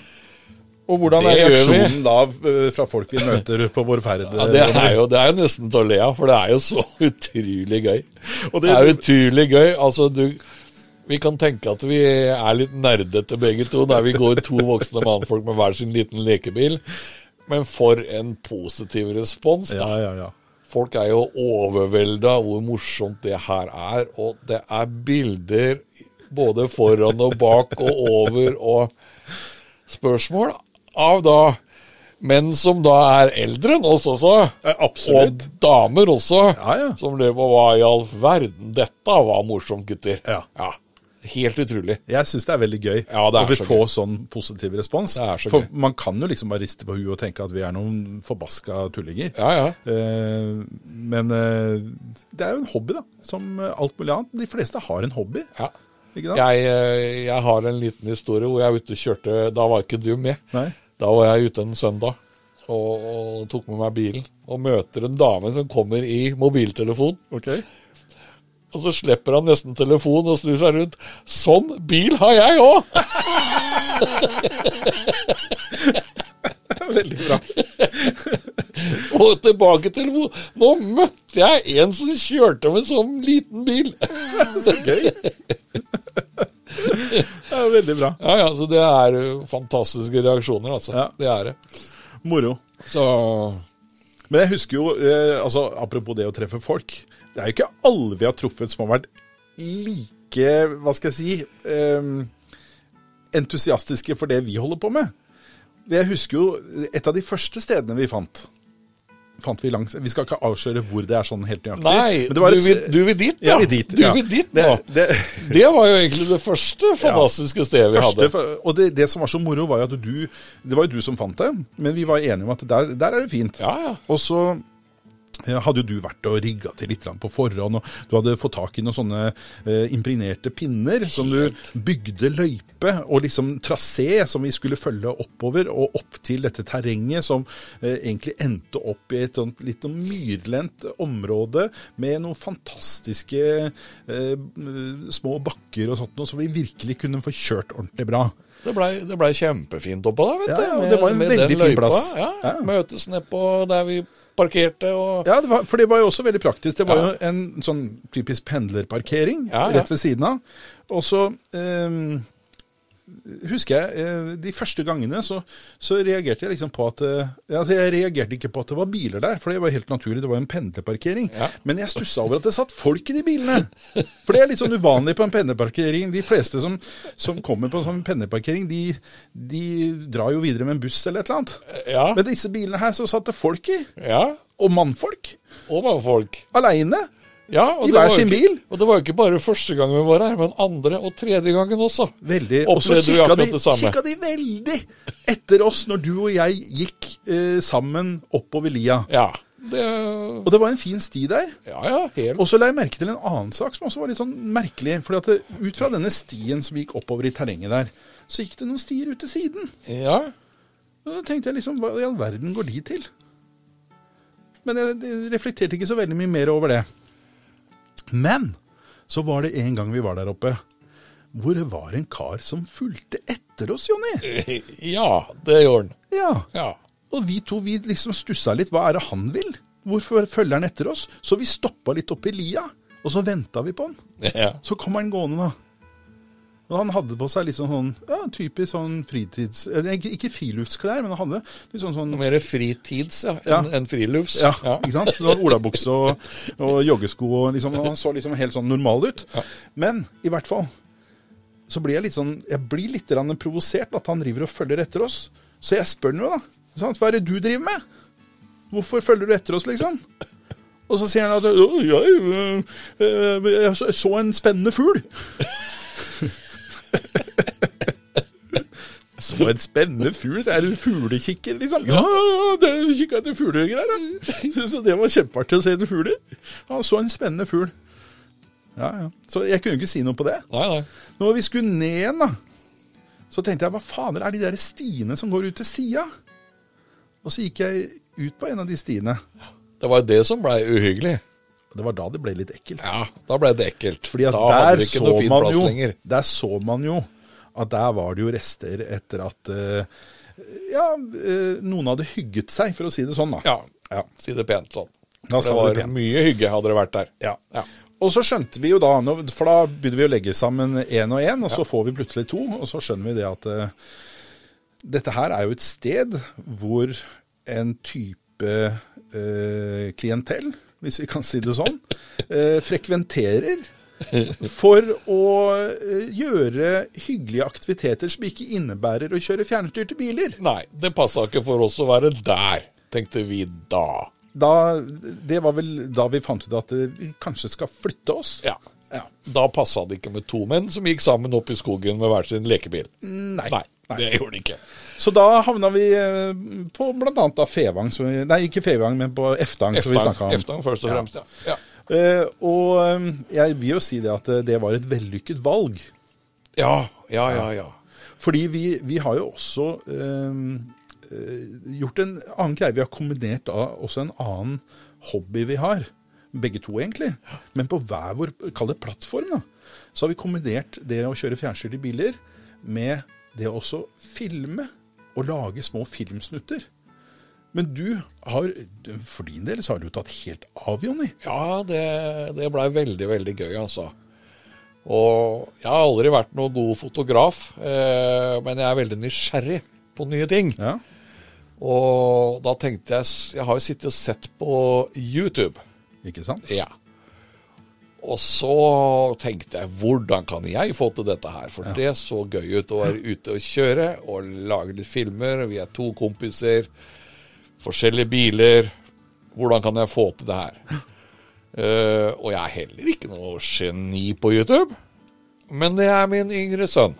[SPEAKER 1] Og hvordan
[SPEAKER 2] Det
[SPEAKER 1] er
[SPEAKER 2] gjør vi.
[SPEAKER 1] reaksjonen da eh, fra folk vi møter på vår ferd? eh,
[SPEAKER 2] Ja, det, er jo, det er jo nesten til å le av, for det er jo så utrolig gøy.
[SPEAKER 1] Og det-
[SPEAKER 2] det, er utrolig gøy. Altså, du Vi kan tenke at vi er litt nerdete begge to, der vi går to voksne mannfolk med hver sin liten lekebil. Men for en positiv respons, da.
[SPEAKER 1] Ja, ja, ja.
[SPEAKER 2] Folk er jo overvelda hvor morsomt det her er, og det er bilder både foran og bak og over og spørsmål av da menn som da er eldre enn oss også,
[SPEAKER 1] Ja, absolutt.
[SPEAKER 2] og damer også,
[SPEAKER 1] Ja, ja.
[SPEAKER 2] som lurer på hva i all verden dette var morsomt, gutter.
[SPEAKER 1] Ja.
[SPEAKER 2] Helt utrolig.
[SPEAKER 1] Jeg syns det er veldig gøy
[SPEAKER 2] Ja, det er
[SPEAKER 1] at vi
[SPEAKER 2] så
[SPEAKER 1] får sånn positiv respons.
[SPEAKER 2] Det er så
[SPEAKER 1] For
[SPEAKER 2] gøy.
[SPEAKER 1] man kan jo liksom bare riste på huet og tenke at vi er noen forbaska tullinger.
[SPEAKER 2] Ja, ja.
[SPEAKER 1] Eh, men eh, det er jo en hobby, da. Som eh, alt mulig annet. De fleste har en hobby.
[SPEAKER 2] ja.
[SPEAKER 1] Ikke sant?
[SPEAKER 2] Jeg, eh, jeg har en liten historie hvor jeg var ute og kjørte Da var ikke du med.
[SPEAKER 1] Nei.
[SPEAKER 2] Da var jeg ute en søndag og, og tok med meg bilen. Og møter en dame som kommer i mobiltelefon.
[SPEAKER 1] Ok.
[SPEAKER 2] Og så slipper han nesten telefonen og snur seg rundt. Sånn bil har jeg òg!
[SPEAKER 1] Veldig bra.
[SPEAKER 2] Og tilbake til hvor Nå møtte jeg en som kjørte med sånn liten bil!
[SPEAKER 1] Så gøy. Det er veldig bra.
[SPEAKER 2] Ja, ja, så det er eh, fantastiske reaksjoner, altså.
[SPEAKER 1] Ja.
[SPEAKER 2] Det er det.
[SPEAKER 1] Moro.
[SPEAKER 2] Så
[SPEAKER 1] Men jeg husker jo, eh, altså apropos det å treffe folk, det er jo ikke alle vi har truffet som har vært like, hva skal jeg si, eh, entusiastiske for det vi holder på med. Jeg husker jo et av de første stedene vi fant. Fant vi, langs, vi skal ikke avsløre hvor det er sånn helt nøyaktig.
[SPEAKER 2] Nei,
[SPEAKER 1] men det var
[SPEAKER 2] du,
[SPEAKER 1] et-
[SPEAKER 2] vil, du vil dit,
[SPEAKER 1] Jeg
[SPEAKER 2] ja.
[SPEAKER 1] vil dit,
[SPEAKER 2] du
[SPEAKER 1] ja.
[SPEAKER 2] vil dit nå.
[SPEAKER 1] Det, det,
[SPEAKER 2] Det var jo egentlig det første fantastiske stedet vi
[SPEAKER 1] første,
[SPEAKER 2] hadde.
[SPEAKER 1] og det, det som var så moro, var jo at du Det var jo du som fant det, men vi var enige om at der, der er det fint.
[SPEAKER 2] Ja, ja.
[SPEAKER 1] Og så eh, hadde jo du vært og rigga til litt grann på forhånd, og du hadde fått tak i noen sånne eh, impregnerte pinner som du bygde løype og liksom trasé som vi skulle følge oppover og opp til dette terrenget som eh, egentlig endte opp i et sånt litt noe myrlendt område med noen fantastiske eh, små bakker og sånt noe, som vi virkelig kunne få kjørt ordentlig bra.
[SPEAKER 2] Det blei ble kjempefint oppå der, vet
[SPEAKER 1] Ja,
[SPEAKER 2] du.
[SPEAKER 1] ja, og
[SPEAKER 2] med-
[SPEAKER 1] det var en
[SPEAKER 2] med
[SPEAKER 1] veldig
[SPEAKER 2] den
[SPEAKER 1] fin
[SPEAKER 2] løypa.
[SPEAKER 1] plass.
[SPEAKER 2] Ja,
[SPEAKER 1] Ja.
[SPEAKER 2] Møtes nedpå der vi parkerte og
[SPEAKER 1] Ja, det var, for det var jo også veldig praktisk. Det var
[SPEAKER 2] Ja.
[SPEAKER 1] jo en sånn typisk pendlerparkering
[SPEAKER 2] Ja, ja.
[SPEAKER 1] rett ved siden av. Og så ehm, husker jeg eh, de første gangene så, så reagerte jeg liksom på at eh, altså Jeg reagerte ikke på at det var biler der, for det var helt naturlig, det var jo en pendlerparkering.
[SPEAKER 2] Ja.
[SPEAKER 1] Men jeg stussa over at det satt folk i de bilene. For det er litt sånn uvanlig på en pendlerparkering. De fleste som, som kommer på en sånn pendlerparkering, de, de drar jo videre med en buss eller et eller annet.
[SPEAKER 2] Ja.
[SPEAKER 1] Men disse bilene her så satt det folk i.
[SPEAKER 2] ja
[SPEAKER 1] Og mannfolk
[SPEAKER 2] og mange folk.
[SPEAKER 1] aleine.
[SPEAKER 2] Ja, og
[SPEAKER 1] I
[SPEAKER 2] det
[SPEAKER 1] hver
[SPEAKER 2] var jo
[SPEAKER 1] sin
[SPEAKER 2] ikke-
[SPEAKER 1] bil.
[SPEAKER 2] Og det var jo ikke bare første gang vi var her, men andre og tredje gangen også.
[SPEAKER 1] Veldig. Og så
[SPEAKER 2] Opplevde vi
[SPEAKER 1] kikka
[SPEAKER 2] akkurat
[SPEAKER 1] de,
[SPEAKER 2] det samme.
[SPEAKER 1] kikka de veldig etter oss når du og jeg gikk eh, sammen oppover lia.
[SPEAKER 2] Ja, det,
[SPEAKER 1] Og det var en fin sti der.
[SPEAKER 2] ja, ja, helt.
[SPEAKER 1] Og så la jeg merke til en annen sak som også var litt sånn merkelig. fordi at det, ut fra denne stien som gikk oppover i terrenget der, så gikk det noen stier ut til siden.
[SPEAKER 2] Ja,
[SPEAKER 1] Og da tenkte jeg liksom, hva i all verden går de til? Men jeg jeg reflekterte ikke så veldig mye mer over det. Men så var det en gang vi var der oppe, hvor det var en kar som fulgte etter oss, Jonny.
[SPEAKER 2] Ja, det gjorde han.
[SPEAKER 1] Ja.
[SPEAKER 2] Ja.
[SPEAKER 1] Og vi to vi liksom stussa litt. Hva er det han vil? Hvorfor følger han etter oss? Så vi stoppa litt oppi lia, og så venta vi på han.
[SPEAKER 2] ja.
[SPEAKER 1] Så kom han gående, da. Og han hadde på seg litt sånn sånn ja, typisk sånn fritids... eh, Ikke, ikke friluftsklær, men han hadde litt sånn sånn
[SPEAKER 2] Mer fritids ja, enn
[SPEAKER 1] Ja.
[SPEAKER 2] enn frilufts.
[SPEAKER 1] ja, ikke sant? Så han Olabukse og, og joggesko og liksom og Han så liksom helt sånn normal ut. Men i hvert fall så blir jeg litt sånn Jeg blir litt grann provosert at han driver og følger etter oss. Så jeg spør han jo, da. Sant? Hva er det du driver med? Hvorfor følger du etter oss, liksom? Og så sier han at «Å, jeg, øh, øh, jeg så- så en spennende fugl. Så en spennende fugl. Så er det fuglekikker, liksom. Ja, ja, ja, det kikka etter fuglegreier. ja. Synes jo det var kjempeartig å se etter fugler. Han så en spennende fugl. Ja, ja. Så jeg kunne ikke si noe på det.
[SPEAKER 2] Nei, nei.
[SPEAKER 1] Når vi skulle ned igjen, da, så tenkte jeg hva fader er de der stiene som går ut til sida? Og så gikk jeg ut på en av de stiene.
[SPEAKER 2] Det var jo det som blei uhyggelig.
[SPEAKER 1] Og Det var da det ble litt ekkelt.
[SPEAKER 2] Ja, da blei det ekkelt.
[SPEAKER 1] Fordi at
[SPEAKER 2] da
[SPEAKER 1] der,
[SPEAKER 2] det
[SPEAKER 1] så
[SPEAKER 2] noe fin
[SPEAKER 1] man
[SPEAKER 2] plass
[SPEAKER 1] jo,
[SPEAKER 2] lenger.
[SPEAKER 1] der så man jo at der var det jo rester etter at eh, ja, eh, noen hadde hygget seg, for å si det sånn. da.
[SPEAKER 2] Ja,
[SPEAKER 1] Ja.
[SPEAKER 2] si det pent sånn.
[SPEAKER 1] Da
[SPEAKER 2] det
[SPEAKER 1] sa vi
[SPEAKER 2] var
[SPEAKER 1] det pent.
[SPEAKER 2] mye hygge hadde det vært der.
[SPEAKER 1] Ja.
[SPEAKER 2] Ja.
[SPEAKER 1] Og så skjønte vi jo da, nå- for da begynner vi å legge sammen én og én, og så får vi plutselig to, og så skjønner vi det at eh, dette her er jo et sted hvor en type eh, klientell, hvis vi kan si det sånn, eh, frekventerer for å eh, gjøre hyggelige aktiviteter som ikke innebærer å kjøre fjernstyrte biler.
[SPEAKER 2] Nei, det passa ikke for oss å være der, tenkte vi da.
[SPEAKER 1] Da, det var vel da vi fant ut at eh, vi kanskje skal flytte oss.
[SPEAKER 2] Ja.
[SPEAKER 1] ja.
[SPEAKER 2] Da passa det ikke med to menn som gikk sammen opp i skogen med hver sin lekebil.
[SPEAKER 1] Nei.
[SPEAKER 2] Nei,
[SPEAKER 1] Nei.
[SPEAKER 2] det gjorde det ikke.
[SPEAKER 1] Så da havna vi eh, på bl.a. da Fevang, som vi, nei ikke Fevang, men på Eftang. som vi snakket om.
[SPEAKER 2] Eftang først og fremst, ja. ja.
[SPEAKER 1] Eh, og eh, jeg vil jo si det at eh, det var et vellykket valg.
[SPEAKER 2] Ja, ja, ja. ja.
[SPEAKER 1] Fordi vi, vi har jo også eh, eh, gjort en annen greie. Vi har kombinert da også en annen hobby vi har. Begge to, egentlig. Men på hver vår kall det plattform, da. Så har vi kombinert det å kjøre fjernstyrte biler med det å også filme og lage små filmsnutter. Men du har, for din del, så har du tatt helt av, Jonny.
[SPEAKER 2] Ja, det, det blei veldig, veldig gøy, altså. Og jeg har aldri vært noen god fotograf, eh, men jeg er veldig nysgjerrig på nye ting.
[SPEAKER 1] Ja.
[SPEAKER 2] Og da tenkte jeg s- Jeg har jo sittet og sett på YouTube.
[SPEAKER 1] Ikke sant?
[SPEAKER 2] Ja. Og så tenkte jeg hvordan kan jeg få til dette her? For det så gøy ut å være ute og kjøre og lage litt filmer. Vi er to kompiser, forskjellige biler. Hvordan kan jeg få til det her? Eh, og jeg er heller ikke noe geni på YouTube, men det er min yngre sønn.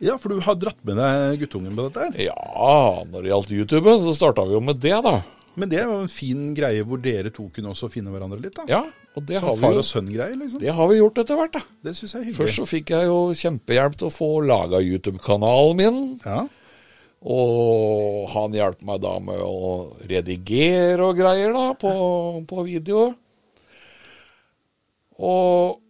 [SPEAKER 1] Ja, for du har dratt med deg guttungen på dette her.
[SPEAKER 2] Ja, når det gjaldt YouTube, så starta vi jo med det, da.
[SPEAKER 1] Men det er jo en fin greie hvor dere to kunne også finne hverandre litt, da.
[SPEAKER 2] Ja, og det har
[SPEAKER 1] Sånn
[SPEAKER 2] vi
[SPEAKER 1] far
[SPEAKER 2] jo
[SPEAKER 1] og sønn-greie, liksom.
[SPEAKER 2] det har vi gjort etter hvert, da.
[SPEAKER 1] Det syns jeg er hyggelig.
[SPEAKER 2] Først så fikk jeg jo kjempehjelp til å få laga YouTube-kanalen min.
[SPEAKER 1] Ja.
[SPEAKER 2] Og han hjalp meg da med å redigere og greier da på, på video. Og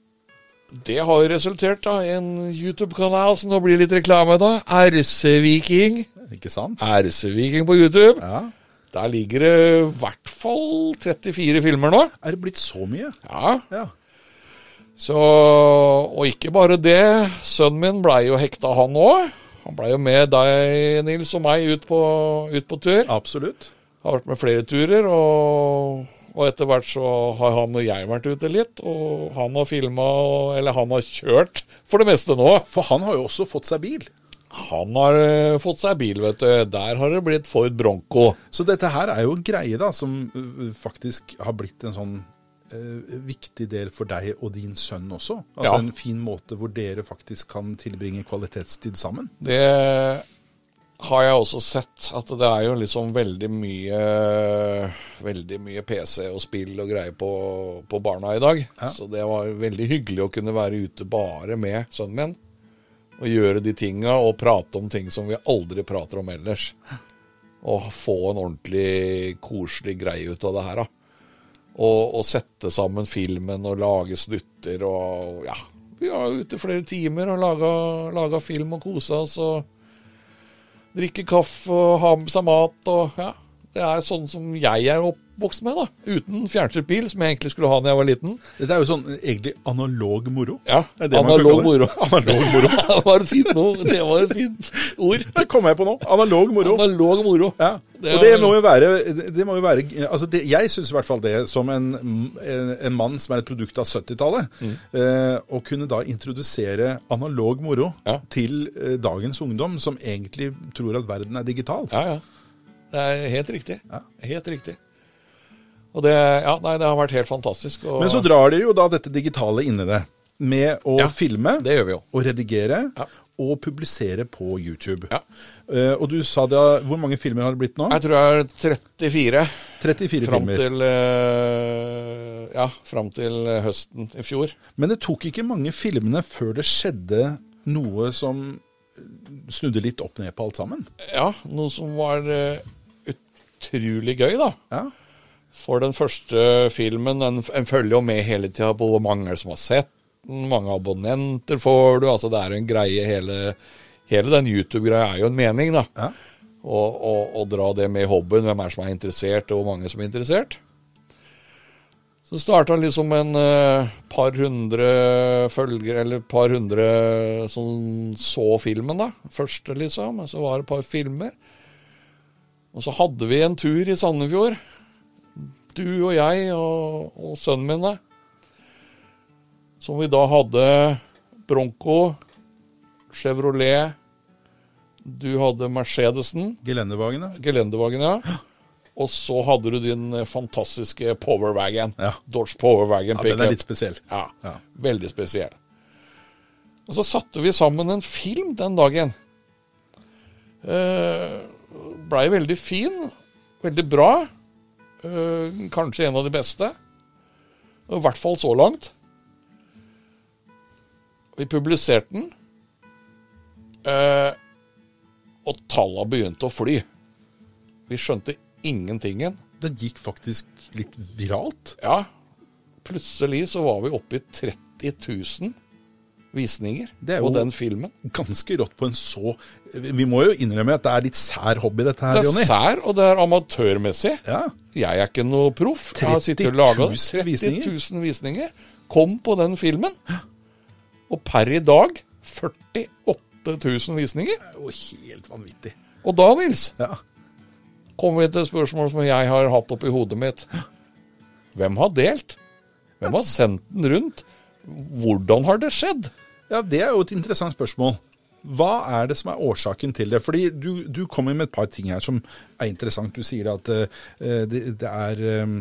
[SPEAKER 2] det har jo resultert da i en YouTube-kanal som nå blir litt reklame, da. RC-Viking.
[SPEAKER 1] Ikke sant?
[SPEAKER 2] RC-Viking på YouTube.
[SPEAKER 1] Ja.
[SPEAKER 2] Der ligger det i hvert fall 34 filmer nå.
[SPEAKER 1] Er det blitt så mye?
[SPEAKER 2] Ja,
[SPEAKER 1] Ja.
[SPEAKER 2] Så, og ikke bare det, sønnen min blei jo hekta han òg. Han blei jo med deg, Nils, og meg ut på, ut på tur.
[SPEAKER 1] Absolutt.
[SPEAKER 2] Har vært med flere turer, og, og etter hvert så har han og jeg vært ute litt. Og han har filma, eller han har kjørt, for det meste nå.
[SPEAKER 1] For han har jo også fått seg bil.
[SPEAKER 2] Han har eh, fått seg bil, vet du. Der har det blitt Ford Bronco.
[SPEAKER 1] Så dette her er jo en greie da, som ø, faktisk har blitt en sånn ø, viktig del for deg og din sønn også. Altså
[SPEAKER 2] Ja.
[SPEAKER 1] en fin måte hvor dere faktisk kan tilbringe kvalitetstid sammen.
[SPEAKER 2] Det har jeg også sett, at det er jo liksom veldig mye Veldig mye PC og spill og greier på, på barna i dag. Så det var veldig hyggelig å kunne være ute bare med sønnen min. Og gjøre de tinga og prate om ting som vi aldri prater om ellers. Og få en ordentlig koselig greie ut av det her, da. Og, og sette sammen filmen og lage snutter og ja. Vi var ute flere timer og laga, laga film og kosa oss og drikke kaffe og ha med seg mat og ja. Det er sånn som jeg er oppvokst med, da. Uten fjernstyrt bil, som jeg egentlig skulle ha da jeg var liten.
[SPEAKER 1] Dette er jo sånn eh, egentlig analog moro.
[SPEAKER 2] Ja,
[SPEAKER 1] Det er det man kan
[SPEAKER 2] analog
[SPEAKER 1] kalle
[SPEAKER 2] moro.
[SPEAKER 1] det. Analog moro.
[SPEAKER 2] det var et fint ord. Det var et fint ord.
[SPEAKER 1] Det kom jeg på nå. Analog moro.
[SPEAKER 2] Analog moro.
[SPEAKER 1] Ja.
[SPEAKER 2] Det
[SPEAKER 1] Og
[SPEAKER 2] er-
[SPEAKER 1] det må jo være, det må jo være altså det, Jeg syns i hvert fall det, som en, en, en mann som er et produkt av 70-tallet,
[SPEAKER 2] Mm.
[SPEAKER 1] eh, å kunne da introdusere analog moro
[SPEAKER 2] Ja.
[SPEAKER 1] til eh, dagens ungdom, som egentlig tror at verden er digital.
[SPEAKER 2] Ja, ja. Det er helt riktig.
[SPEAKER 1] Ja.
[SPEAKER 2] Helt riktig. Og det, ja, nei, det har vært helt fantastisk. Og
[SPEAKER 1] Men så drar dere jo da dette digitale inn i det, med å
[SPEAKER 2] Ja,
[SPEAKER 1] filme
[SPEAKER 2] det gjør vi jo.
[SPEAKER 1] og redigere.
[SPEAKER 2] Ja.
[SPEAKER 1] Og publisere på YouTube.
[SPEAKER 2] Ja.
[SPEAKER 1] Eh, og du sa da Hvor mange filmer har det blitt nå?
[SPEAKER 2] Jeg tror jeg er 34
[SPEAKER 1] 34
[SPEAKER 2] fram
[SPEAKER 1] filmer.
[SPEAKER 2] til, eh, ja, fram til høsten i fjor.
[SPEAKER 1] Men det tok ikke mange filmene før det skjedde noe som snudde litt opp ned på alt sammen.
[SPEAKER 2] Ja, noe som var eh, utrolig gøy, da.
[SPEAKER 1] Ja,
[SPEAKER 2] For den første filmen, en, en følger jo med hele tida på hvor mange som har sett den, mange abonnenter får du, altså det er jo en greie hele, hele den YouTube-greia er jo en mening, da.
[SPEAKER 1] ja.
[SPEAKER 2] Å å- å dra det med i hobbyen, hvem er det som er interessert, og hvor mange som er interessert. Så starta liksom en eh, par hundre følgere, eller par hundre som så filmen, da. Første, liksom. og Så var det et par filmer. Og så hadde vi en tur i Sandefjord. Du og jeg og, og sønnen min, da. Som vi da hadde Bronco, Chevrolet Du hadde Mercedesen.
[SPEAKER 1] Gelendervagene.
[SPEAKER 2] Gelendevagen, ja. Og så hadde du din eh, fantastiske Powerwagon.
[SPEAKER 1] Ja.
[SPEAKER 2] Dodge Powerwagon
[SPEAKER 1] Ja,
[SPEAKER 2] pickup.
[SPEAKER 1] den er litt spesiell.
[SPEAKER 2] Ja,
[SPEAKER 1] Ja.
[SPEAKER 2] veldig spesiell. Og så satte vi sammen en film den dagen. Eh, Blei veldig fin, veldig bra. Eh, kanskje en av de beste. Og I hvert fall så langt. Vi publiserte den. Eh, og talla begynte å fly. Vi skjønte ingentingen.
[SPEAKER 1] Den gikk faktisk litt viralt.
[SPEAKER 2] Ja, plutselig så var vi oppe i 30 000 visninger
[SPEAKER 1] Det er
[SPEAKER 2] på
[SPEAKER 1] jo-
[SPEAKER 2] den filmen.
[SPEAKER 1] Ganske rått på en så Vi må jo innrømme at det er litt sær hobby, dette her,
[SPEAKER 2] Det er
[SPEAKER 1] Jonny.
[SPEAKER 2] sær, og det er amatørmessig.
[SPEAKER 1] Ja.
[SPEAKER 2] Jeg er ikke noe proff. Jeg har sittet
[SPEAKER 1] 30 000
[SPEAKER 2] og laga 30
[SPEAKER 1] visninger.
[SPEAKER 2] 000 visninger. Kom på den filmen. Og per i dag 48 000 visninger.
[SPEAKER 1] Det er jo helt vanvittig.
[SPEAKER 2] Og da, Nils,
[SPEAKER 1] Ja.
[SPEAKER 2] kommer vi til et spørsmål som jeg har hatt oppi hodet mitt. Hvem har delt? Hvem har sendt den rundt? Hvordan har det skjedd?
[SPEAKER 1] ja, det er jo et interessant spørsmål. Hva er det som er årsaken til det? Fordi du, du kommer med et par ting her som er interessant. Du sier at eh, det, det er eh,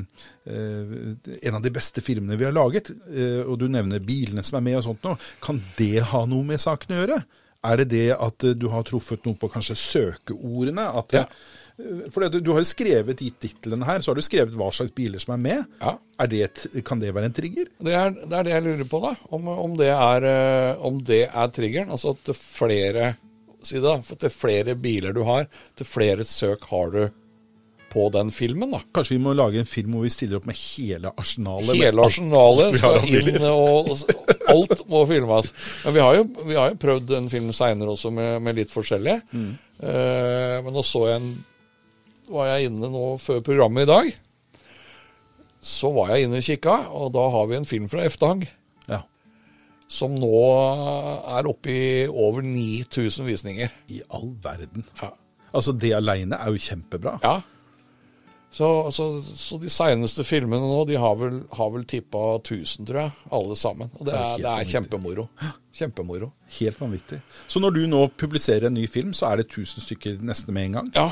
[SPEAKER 1] eh, en av de beste filmene vi har laget, eh, og du nevner bilene som er med og sånt noe. Kan det ha noe med saken å gjøre? Er det det at eh, du har truffet noe på kanskje søkeordene? At,
[SPEAKER 2] Ja.
[SPEAKER 1] eh, Fordi at du, du har jo skrevet i titlene her, så har du skrevet hva slags biler som er med.
[SPEAKER 2] Ja.
[SPEAKER 1] Er det et, kan det være en trigger?
[SPEAKER 2] Det er, det er det jeg lurer på, da. Om, om, det er, eh, om det er triggeren. Altså at det flere si det, da, for til flere biler du har, til flere søk har du på den filmen. da.
[SPEAKER 1] Kanskje vi må lage en film hvor vi stiller opp med hele arsenalet? med
[SPEAKER 2] Hele
[SPEAKER 1] alt-
[SPEAKER 2] arsenalet
[SPEAKER 1] vi har
[SPEAKER 2] skal
[SPEAKER 1] av
[SPEAKER 2] inn,
[SPEAKER 1] biler.
[SPEAKER 2] og og alt må filmes. Men vi har jo, vi har jo prøvd en film seinere også med, med litt forskjellig.
[SPEAKER 1] Mm.
[SPEAKER 2] Eh, men nå så jeg en Var jeg inne nå før programmet i dag, så var jeg inne og kikka, og da har vi en film fra Eftang.
[SPEAKER 1] Ja.
[SPEAKER 2] som nå er oppe i over 9000 visninger.
[SPEAKER 1] I all verden.
[SPEAKER 2] Ja.
[SPEAKER 1] Altså, det aleine er jo kjempebra.
[SPEAKER 2] ja. Så, så, så de seneste filmene nå, de har vel, har vel tippa 1000, tror jeg, alle sammen. Og det
[SPEAKER 1] Det er
[SPEAKER 2] er,
[SPEAKER 1] helt
[SPEAKER 2] det er
[SPEAKER 1] vanvittig.
[SPEAKER 2] kjempemoro. Kjempemoro.
[SPEAKER 1] Helt vanvittig. Så når du nå publiserer en ny film, så er det 1000 stykker nesten med en gang?
[SPEAKER 2] Ja,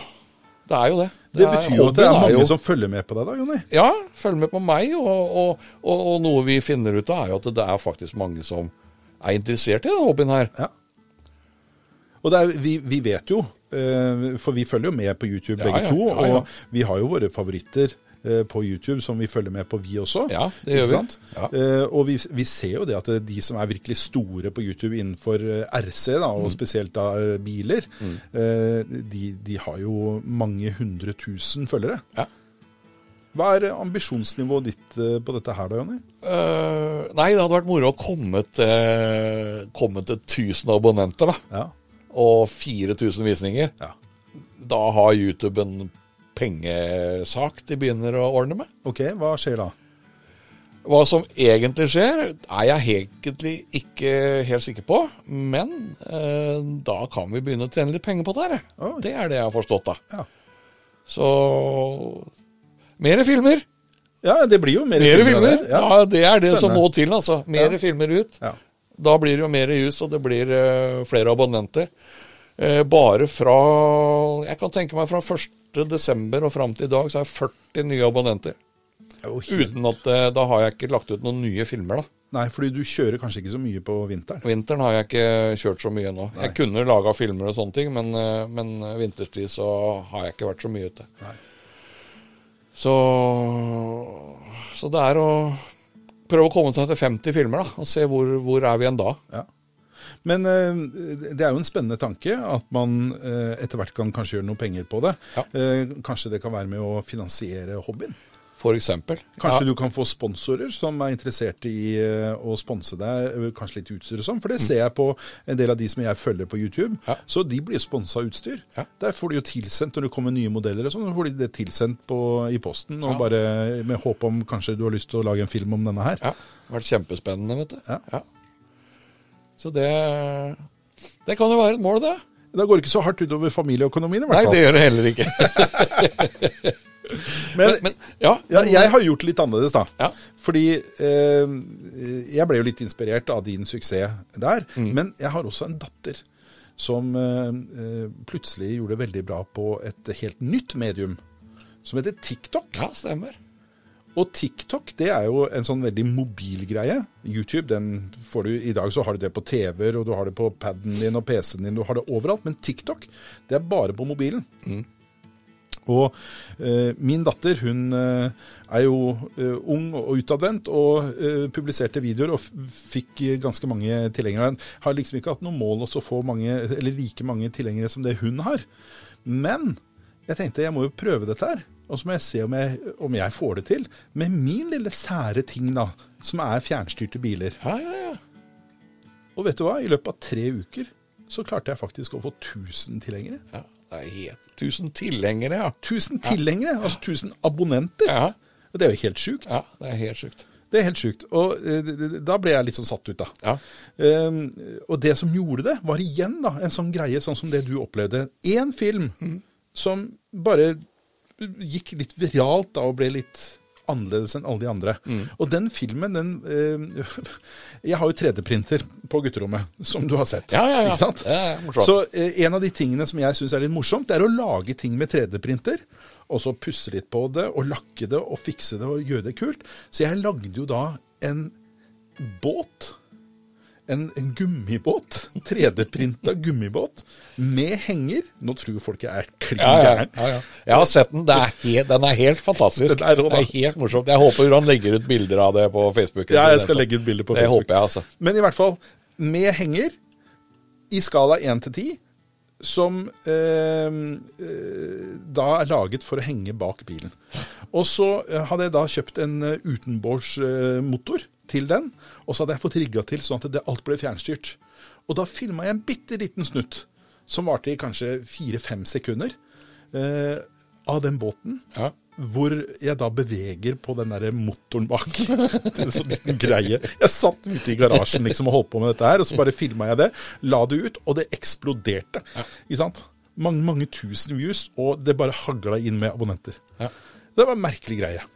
[SPEAKER 2] det er jo det.
[SPEAKER 1] Det betyr jo at det er
[SPEAKER 2] hobbyen
[SPEAKER 1] mange
[SPEAKER 2] jo-
[SPEAKER 1] som følger med på deg da, Jonny.
[SPEAKER 2] Ja, følg med på meg, og, og, og, og noe vi finner ut av, er jo at det er faktisk mange som er interessert i denne hobbyen her.
[SPEAKER 1] Ja. Og det er, vi, vi vet jo, eh, for vi følger jo med på YouTube
[SPEAKER 2] Ja,
[SPEAKER 1] begge
[SPEAKER 2] ja,
[SPEAKER 1] to,
[SPEAKER 2] ja, ja.
[SPEAKER 1] og vi har jo våre favoritter eh, på YouTube som vi følger med på, vi også.
[SPEAKER 2] Ja, det
[SPEAKER 1] ikke
[SPEAKER 2] gjør vi.
[SPEAKER 1] sant?
[SPEAKER 2] Ja.
[SPEAKER 1] Eh, Og vi, vi ser jo det at eh, de som er virkelig store på YouTube innenfor eh, RC, da,
[SPEAKER 2] Mm.
[SPEAKER 1] og spesielt da eh, biler, eh, de, de har jo mange hundre tusen følgere.
[SPEAKER 2] Ja.
[SPEAKER 1] Hva er ambisjonsnivået ditt eh, på dette her da, Jonny?
[SPEAKER 2] Eh, nei, det hadde vært moro å komme til, komme til 1000 abonnenter da,
[SPEAKER 1] Ja.
[SPEAKER 2] og 4000 visninger.
[SPEAKER 1] ja.
[SPEAKER 2] Da har YouTube en pengesak de begynner å ordne med.
[SPEAKER 1] Ok, hva skjer da?
[SPEAKER 2] Hva som egentlig skjer, er jeg egentlig ikke helt sikker på. Men eh, da kan vi begynne å tjene litt penger på det her.
[SPEAKER 1] Oi.
[SPEAKER 2] Det er det jeg har forstått, da.
[SPEAKER 1] Ja,
[SPEAKER 2] Så Mere filmer!
[SPEAKER 1] ja det blir jo mer
[SPEAKER 2] Mere
[SPEAKER 1] av
[SPEAKER 2] filmer!
[SPEAKER 1] det.
[SPEAKER 2] Ja.
[SPEAKER 1] Ja.
[SPEAKER 2] det er det som
[SPEAKER 1] Spennende.
[SPEAKER 2] må til, altså. Mere
[SPEAKER 1] Ja.
[SPEAKER 2] filmer ut.
[SPEAKER 1] Ja.
[SPEAKER 2] Da blir det jo mer jus, og det blir eh, flere abonnenter. Eh, bare fra Jeg kan tenke meg fra 1.12. og fram til i dag, så er jeg 40 nye abonnenter.
[SPEAKER 1] Det er jo helt-
[SPEAKER 2] Uten at eh, Da har jeg ikke lagt ut noen nye filmer, da.
[SPEAKER 1] Nei, fordi du kjører kanskje ikke så mye på vinteren.
[SPEAKER 2] Vinteren har jeg ikke kjørt så mye nå. Jeg kunne laga filmer og sånne ting, men, eh, men vinterstid så har jeg ikke vært så mye ute.
[SPEAKER 1] Nei.
[SPEAKER 2] Så, så det er å prøve å komme seg til 50 filmer, da, og se hvor, hvor er vi en da.
[SPEAKER 1] Ja. Men eh, det er jo en spennende tanke at man eh, etter hvert kan kanskje gjøre noe penger på det.
[SPEAKER 2] Ja.
[SPEAKER 1] Eh, kanskje det kan være med å finansiere hobbyen?
[SPEAKER 2] For eksempel.
[SPEAKER 1] Kanskje
[SPEAKER 2] ja,
[SPEAKER 1] du kan få sponsorer som er interessert i eh, å sponse deg, eh, kanskje litt utstyr og sånn. For det ser jeg på en del av de som jeg følger på YouTube.
[SPEAKER 2] Mm. Ja.
[SPEAKER 1] Så de blir sponsa av utstyr.
[SPEAKER 2] Ja.
[SPEAKER 1] Der får de jo tilsendt når det kommer nye modeller og sånn, så får de det tilsendt på, i posten. Og
[SPEAKER 2] Ja.
[SPEAKER 1] bare med håp om kanskje du har lyst til å lage en film om denne her.
[SPEAKER 2] ja. Det har vært kjempespennende, vet du.
[SPEAKER 1] Ja.
[SPEAKER 2] Så det Det kan jo være et mål, det.
[SPEAKER 1] Da går det ikke så hardt utover familieøkonomien i
[SPEAKER 2] Nei,
[SPEAKER 1] hvert fall.
[SPEAKER 2] det gjør det heller ikke.
[SPEAKER 1] men,
[SPEAKER 2] Men ja.
[SPEAKER 1] ja, jeg har gjort litt annerledes, da.
[SPEAKER 2] Ja.
[SPEAKER 1] Fordi eh, jeg ble jo litt inspirert av din suksess der. Men jeg har også en datter som eh, eh, plutselig gjorde det veldig bra på et helt nytt medium. Som heter TikTok.
[SPEAKER 2] ja, stemmer.
[SPEAKER 1] Og TikTok det er jo en sånn veldig mobil greie. YouTube, den får du i dag så har du det på TV-er, og du har det på paden din og PC-en din. Du har det overalt. Men TikTok, det er bare på mobilen. Og eh, min datter hun eh, er jo eh, ung og utadvendt, og eh, publiserte videoer og f fikk eh, ganske mange tilhengere. Har liksom ikke hatt noe mål også å få mange, eller like mange tilhengere som det hun har. Men jeg tenkte jeg må jo prøve dette her. Og så må jeg se om jeg, om jeg får det til. Med min lille sære ting, da, som er fjernstyrte biler.
[SPEAKER 2] Ja, ja, ja.
[SPEAKER 1] Og vet du hva? I løpet av tre uker så klarte jeg faktisk å få 1000 tilhengere.
[SPEAKER 2] ja. Det er helt Tusen tilhengere, ja.
[SPEAKER 1] 1000 tilhengere, altså 1000 abonnenter.
[SPEAKER 2] Ja,
[SPEAKER 1] Og Det er jo helt sjukt.
[SPEAKER 2] ja det er helt sjukt.
[SPEAKER 1] Det er helt sjukt. Og eh, d- d- da ble jeg litt sånn satt ut, da.
[SPEAKER 2] Ja.
[SPEAKER 1] Ehm, og det som gjorde det, var igjen da, en sånn greie sånn som det du opplevde. Én film
[SPEAKER 2] Mm.
[SPEAKER 1] som bare gikk litt viralt da og ble litt annerledes enn alle de andre.
[SPEAKER 2] Mm.
[SPEAKER 1] Og den filmen, den eh, Jeg har jo 3D-printer på gutterommet, som du har sett.
[SPEAKER 2] Ja, ja, ja.
[SPEAKER 1] Ikke sant?
[SPEAKER 2] Ja, ja, morsomt.
[SPEAKER 1] Så eh, en av de tingene som jeg syns er litt morsomt, det er å lage ting med 3D-printer. Og så pusse litt på det, og lakke det, og fikse det, og gjøre det kult. Så jeg lagde jo da en båt. En, en gummibåt. 3D-printa gummibåt med henger. Nå tror folk jeg er klin
[SPEAKER 2] Ja, ja,
[SPEAKER 1] gæren.
[SPEAKER 2] ja, ja. Jeg har sett den. Det er helt, den er helt fantastisk.
[SPEAKER 1] Den er rå, da.
[SPEAKER 2] det er helt morsomt. Jeg håper han legger ut bilder av det på Facebook.
[SPEAKER 1] Ja, jeg skal legge ut bilde på
[SPEAKER 2] det
[SPEAKER 1] Facebook.
[SPEAKER 2] håper jeg, altså.
[SPEAKER 1] Men i hvert fall, med henger i skala 1 til 10, som eh, eh, da er laget for å henge bak bilen. Og så eh, hadde jeg da kjøpt en eh, utenbords eh, motor til den, og så hadde jeg fått rigga til sånn at det alt ble fjernstyrt. Og da filma jeg en bitte liten snutt, som varte i kanskje 4-5 sekunder, eh, av den båten.
[SPEAKER 2] Ja.
[SPEAKER 1] Hvor jeg da beveger på den der motoren bak. Det er en sånn liten greie. Jeg satt ute i garasjen liksom og holdt på med dette her, og så bare filma jeg det. La det ut, og det eksploderte. Ikke sant? Mange, mange tusen views, og det bare hagla inn med abonnenter.
[SPEAKER 2] Ja.
[SPEAKER 1] Det var en merkelig greie.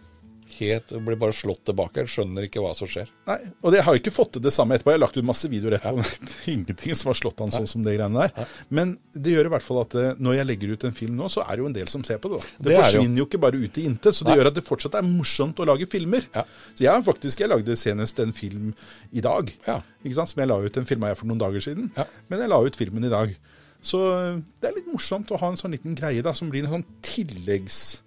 [SPEAKER 2] Helt, jeg blir bare slått tilbake. Jeg skjønner ikke hva som skjer.
[SPEAKER 1] Nei, Og det, jeg har jo ikke fått til det samme etterpå. Jeg har lagt ut masse videoer etterpå. men det er Ingenting som har slått an sånn som det greiene der. Men det gjør i hvert fall at eh, når jeg legger ut en film nå, så er det jo en del som ser på det. da. Det,
[SPEAKER 2] Det er det jo.
[SPEAKER 1] forsvinner jo ikke bare ut i intet, så det
[SPEAKER 2] Nei.
[SPEAKER 1] gjør at det fortsatt er morsomt å lage filmer.
[SPEAKER 2] Ja.
[SPEAKER 1] Så jeg har faktisk jeg lagde senest en film i dag,
[SPEAKER 2] Ja.
[SPEAKER 1] ikke sant? som jeg la ut. Den filma jeg for noen dager siden,
[SPEAKER 2] Ja.
[SPEAKER 1] men jeg la ut filmen i dag. Så eh, det er litt morsomt å ha en sånn liten greie da, som blir en sånn tilleggs...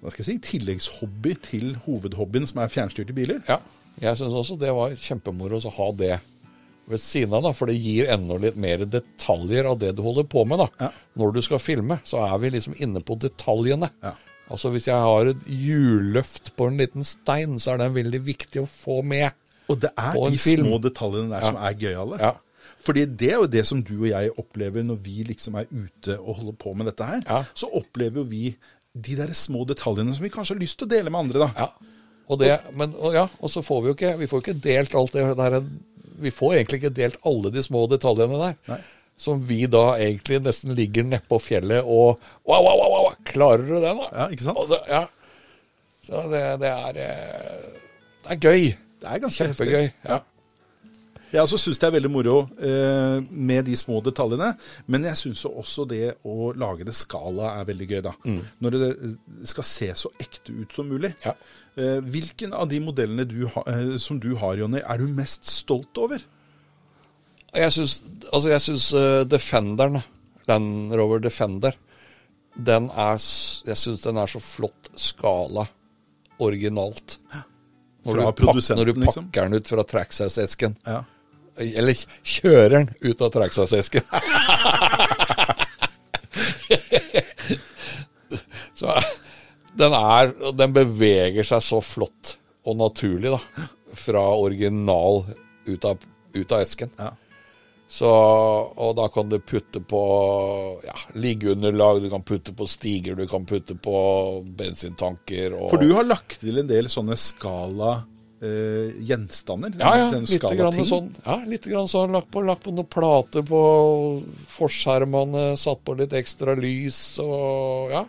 [SPEAKER 1] Hva skal jeg si? Tilleggshobby til hovedhobbyen som er fjernstyrte biler.
[SPEAKER 2] Ja. Jeg syns også det var kjempemoro å ha det ved siden av, da, for det gir enda litt mer detaljer av det du holder på med. da.
[SPEAKER 1] Ja.
[SPEAKER 2] Når du skal filme, så er vi liksom inne på detaljene.
[SPEAKER 1] Ja.
[SPEAKER 2] Altså Hvis jeg har et hjulløft på en liten stein, så er den veldig viktig å få med.
[SPEAKER 1] Og det er
[SPEAKER 2] På en
[SPEAKER 1] de
[SPEAKER 2] film.
[SPEAKER 1] små detaljene der som er gøyale.
[SPEAKER 2] Ja.
[SPEAKER 1] Fordi det er jo det som du og jeg opplever når vi liksom er ute og holder på med dette her.
[SPEAKER 2] Ja.
[SPEAKER 1] Så opplever jo vi de der små detaljene som vi kanskje har lyst til å dele med andre, da.
[SPEAKER 2] Ja. Og, det, men, og, ja, og så får vi jo ikke Vi får jo ikke delt alt det der Vi får egentlig ikke delt alle de små detaljene der.
[SPEAKER 1] Nei.
[SPEAKER 2] Som vi da egentlig nesten ligger nedpå fjellet og wow, wow, wow, wow, Klarer du det, da?
[SPEAKER 1] Ja, ikke sant?
[SPEAKER 2] Og det, ja. Så det, det er eh, Det er gøy.
[SPEAKER 1] Det er ganske heftig.
[SPEAKER 2] Kjempegøy. Ja.
[SPEAKER 1] Jeg også syns det er veldig moro eh, med de små detaljene, men jeg syns også det å lage det skala er veldig gøy, da. Når det eh, skal se så ekte ut som mulig.
[SPEAKER 2] Mm. Ja.
[SPEAKER 1] Eh, hvilken av de modellene du ha, eh, som du har, Jonny, er du mest stolt over?
[SPEAKER 2] Jeg syns, altså jeg syns eh, Defenderen, Land Rover Defender, den er, s- jeg syns den er så flott skala originalt. Når
[SPEAKER 1] Fra
[SPEAKER 2] du pak-
[SPEAKER 1] produsenten,
[SPEAKER 2] Når du pakker
[SPEAKER 1] liksom?
[SPEAKER 2] den ut fra tracksace-esken.
[SPEAKER 1] Ja.
[SPEAKER 2] Eller k- kjører den ut av tracksace-esken. så den er og Den beveger seg så flott og naturlig, da. Fra original ut av, ut av esken.
[SPEAKER 1] ja.
[SPEAKER 2] Så, og da kan du putte på ja, liggeunderlag, du kan putte på stiger, du kan putte på bensintanker og
[SPEAKER 1] For du har lagt til en del sånne skala eh, gjenstander?
[SPEAKER 2] ja, ja,
[SPEAKER 1] sånn
[SPEAKER 2] litt
[SPEAKER 1] skala
[SPEAKER 2] grann
[SPEAKER 1] ting.
[SPEAKER 2] sånn. Ja, litt grann sånn. Lagt på, lagt på noen plater på forskjermene, satt på litt ekstra lys og ja.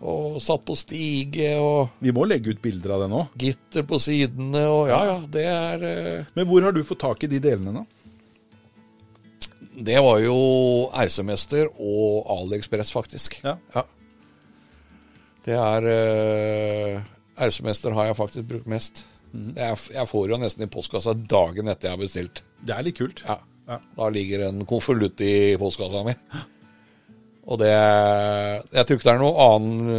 [SPEAKER 2] Og satt på stige og
[SPEAKER 1] Vi må legge ut bilder av det nå.
[SPEAKER 2] gitter på sidene og ja, ja. Det er eh,
[SPEAKER 1] Men hvor har du fått tak i de delene, da?
[SPEAKER 2] Det var jo RC-mester og AliExpress, faktisk.
[SPEAKER 1] Ja.
[SPEAKER 2] Det er uh, RC-mester har jeg faktisk brukt mest.
[SPEAKER 1] Mhm.
[SPEAKER 2] Jeg, jeg får jo nesten i postkassa dagen etter jeg har bestilt.
[SPEAKER 1] Det er litt kult.
[SPEAKER 2] Ja.
[SPEAKER 1] Ja.
[SPEAKER 2] Da ligger en konvolutt i postkassa mi. Og det Jeg tror ikke det er noe annen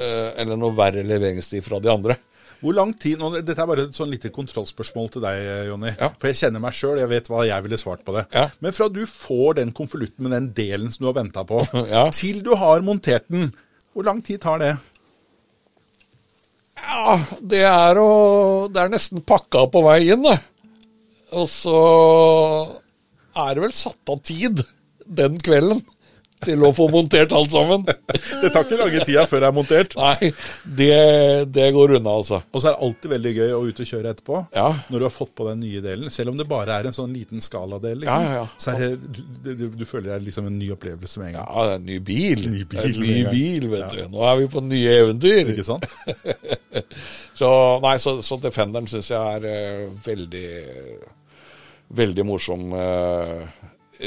[SPEAKER 2] eh, Eller noe verre leveringstid fra de andre.
[SPEAKER 1] Hvor lang tid, nå, Dette er bare et sånn lite kontrollspørsmål til deg, Jonny.
[SPEAKER 2] Ja.
[SPEAKER 1] For jeg kjenner meg sjøl, jeg vet hva jeg ville svart på det.
[SPEAKER 2] Ja.
[SPEAKER 1] Men fra du får den konvolutten med den delen som du har venta på,
[SPEAKER 2] Ja.
[SPEAKER 1] til du har montert den, hvor lang tid tar det?
[SPEAKER 2] Ja, det er å Det er nesten pakka på vei inn, det. Og så er det vel satt av tid den kvelden til å få montert alt sammen.
[SPEAKER 1] Det tar ikke lange tida før det er montert.
[SPEAKER 2] Nei, det, det går unna, altså.
[SPEAKER 1] Og så er det alltid veldig gøy å ut og kjøre etterpå,
[SPEAKER 2] Ja.
[SPEAKER 1] når du har fått på den nye delen. Selv om det bare er en sånn liten skaladel, liksom,
[SPEAKER 2] Ja, ja, ja.
[SPEAKER 1] så er det, du, det- du, du føler det er liksom en ny opplevelse med en
[SPEAKER 2] Ja,
[SPEAKER 1] gang.
[SPEAKER 2] det er en ny bil.
[SPEAKER 1] Ny bil
[SPEAKER 2] Det er en
[SPEAKER 1] med en
[SPEAKER 2] ny
[SPEAKER 1] gang.
[SPEAKER 2] bil vet du. Nå er vi på nye eventyr.
[SPEAKER 1] Ikke sant?
[SPEAKER 2] Så, nei, så, så Defenderen syns jeg er eh, veldig Veldig morsom eh,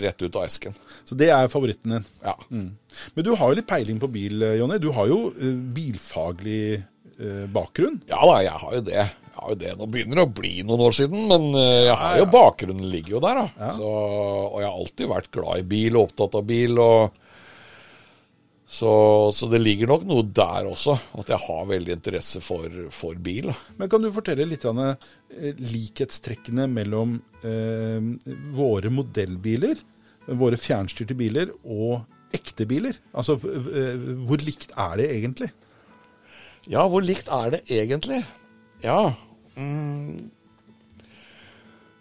[SPEAKER 2] rett ut av esken.
[SPEAKER 1] Så det er favoritten din.
[SPEAKER 2] Ja.
[SPEAKER 1] Mm. Men du har jo litt peiling på bil, Jonny. Du har jo eh, bilfaglig eh, bakgrunn.
[SPEAKER 2] Ja da, jeg har jo det. Jeg har jo det. Nå begynner det å bli noen år siden, men eh, jeg har jo bakgrunnen ligger jo der. da. Så, og jeg har alltid vært glad i bil og opptatt av bil. og så, så det ligger nok noe der også, at jeg har veldig interesse for, for bil. da.
[SPEAKER 1] Men kan du fortelle litt grann, eh, likhetstrekkene mellom eh, våre modellbiler, våre fjernstyrte biler, og ekte biler? Altså, v- v- hvor likt er det egentlig?
[SPEAKER 2] Ja, hvor likt er det egentlig? Ja mm.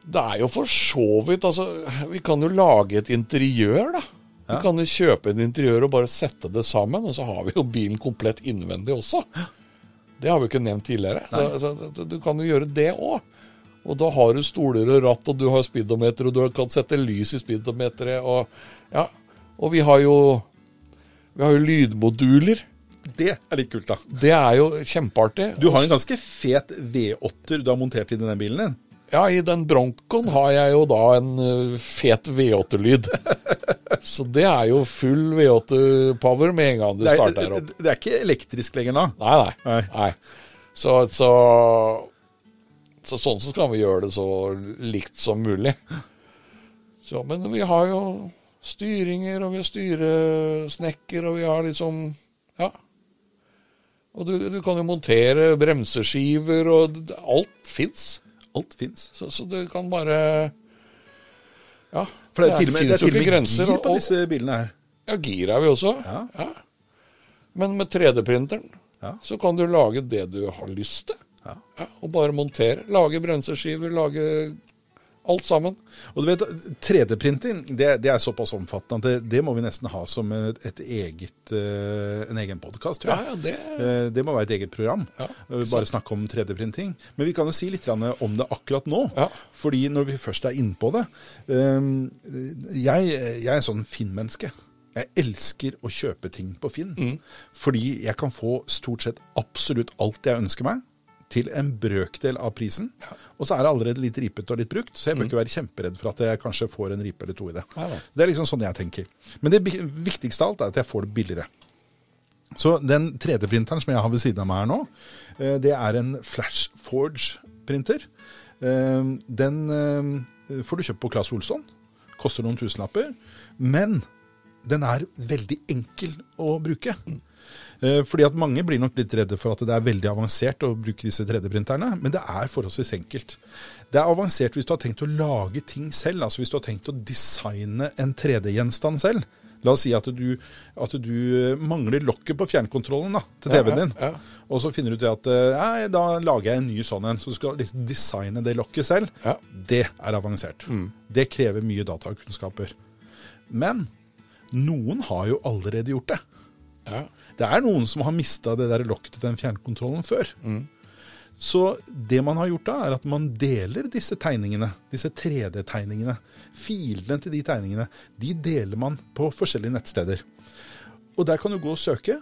[SPEAKER 2] Det er jo for så vidt Altså, vi kan jo lage et interiør, da. Vi
[SPEAKER 1] Ja.
[SPEAKER 2] kan jo kjøpe et interiør og bare sette det sammen, og så har vi jo bilen komplett innvendig også. Det har vi jo ikke nevnt tidligere. Så, så, så, du kan jo gjøre det òg. Og da har du stoler og ratt, og du har speedometer, og du kan sette lys i speedometeret, og ja. Og vi har jo Vi har jo lydmoduler.
[SPEAKER 1] Det er litt kult, da.
[SPEAKER 2] Det er jo kjempeartig.
[SPEAKER 1] Du har en ganske fet V8-er du har montert inn i den bilen din.
[SPEAKER 2] Ja, i den Broncoen har jeg jo da en ø, fet V8-lyd. Så det er jo full V8-power med en gang du
[SPEAKER 1] Det er,
[SPEAKER 2] starter opp.
[SPEAKER 1] det er ikke elektrisk lenger nå.
[SPEAKER 2] Nei, nei.
[SPEAKER 1] Nei.
[SPEAKER 2] nei. Så, så, så sånn så skal vi gjøre det så likt som mulig. Så, men vi har jo styringer, og vi har styresnekker, og vi har liksom Ja. Og du, du kan jo montere bremseskiver, og d- alt fins.
[SPEAKER 1] Alt fins.
[SPEAKER 2] Så, så du kan bare Ja.
[SPEAKER 1] For det er til og med, det
[SPEAKER 2] finnes
[SPEAKER 1] er til
[SPEAKER 2] jo
[SPEAKER 1] og
[SPEAKER 2] ikke
[SPEAKER 1] med
[SPEAKER 2] grenser.
[SPEAKER 1] gir
[SPEAKER 2] Og,
[SPEAKER 1] på
[SPEAKER 2] og,
[SPEAKER 1] disse bilene her.
[SPEAKER 2] ja, gir er vi også.
[SPEAKER 1] Ja.
[SPEAKER 2] Men med 3D-printeren
[SPEAKER 1] Ja.
[SPEAKER 2] så kan du lage det du har lyst til.
[SPEAKER 1] Ja.
[SPEAKER 2] Ja, og bare montere. Lage bremseskiver, lage alt sammen.
[SPEAKER 1] Og du vet, 3D-printing det, det er såpass omfattende at det, det må vi nesten ha som et, et eget, eh, en egen podkast, tror jeg.
[SPEAKER 2] Ja, ja, det-
[SPEAKER 1] Eh, det må være et eget program.
[SPEAKER 2] Ja,
[SPEAKER 1] Eh, Bare snakke om 3D-printing. Men vi kan jo si litt grann om det akkurat nå.
[SPEAKER 2] Ja.
[SPEAKER 1] Fordi når vi først er innpå det eh, jeg, jeg er sånn Finn-menneske. Jeg elsker å kjøpe ting på Finn.
[SPEAKER 2] Mm.
[SPEAKER 1] Fordi jeg kan få stort sett absolutt alt jeg ønsker meg. Til en brøkdel av prisen. Og så er det allerede litt ripet og litt brukt, så jeg
[SPEAKER 2] Mm.
[SPEAKER 1] bør ikke være kjemperedd for at jeg kanskje får en ripe eller to i det.
[SPEAKER 2] Nei da.
[SPEAKER 1] Det er liksom sånn jeg tenker. Men det bi- viktigste av alt er at jeg får det billigere. Så den 3D-printeren som jeg har ved siden av meg her nå, eh, det er en Flashforge-printer. Eh, Den eh, får du kjøpt på Claes Olsson. Koster noen tusenlapper. Men den er veldig enkel å bruke. Eh, Fordi at mange blir nok litt redde for at det er veldig avansert å bruke disse 3D-printerne, men det er forholdsvis enkelt. Det er avansert hvis du har tenkt å lage ting selv, altså hvis du har tenkt å designe en 3D-gjenstand selv. La oss si at du, at du eh, mangler lokket på fjernkontrollen da, til
[SPEAKER 2] Ja,
[SPEAKER 1] TV-en din.
[SPEAKER 2] ja, ja.
[SPEAKER 1] Og så finner du ut det at eh, nei, da lager jeg en ny sånn en. Så du skal liksom designe det lokket selv.
[SPEAKER 2] Ja.
[SPEAKER 1] Det er avansert. Det krever mye datakunnskaper. Men noen har jo allerede gjort det.
[SPEAKER 2] Ja.
[SPEAKER 1] Det er noen som har mista det der lokket til den fjernkontrollen før. Så det man har gjort da, er at man deler disse tegningene, disse 3D-tegningene. Filene til de tegningene, de deler man på forskjellige nettsteder. Og der kan du gå og søke,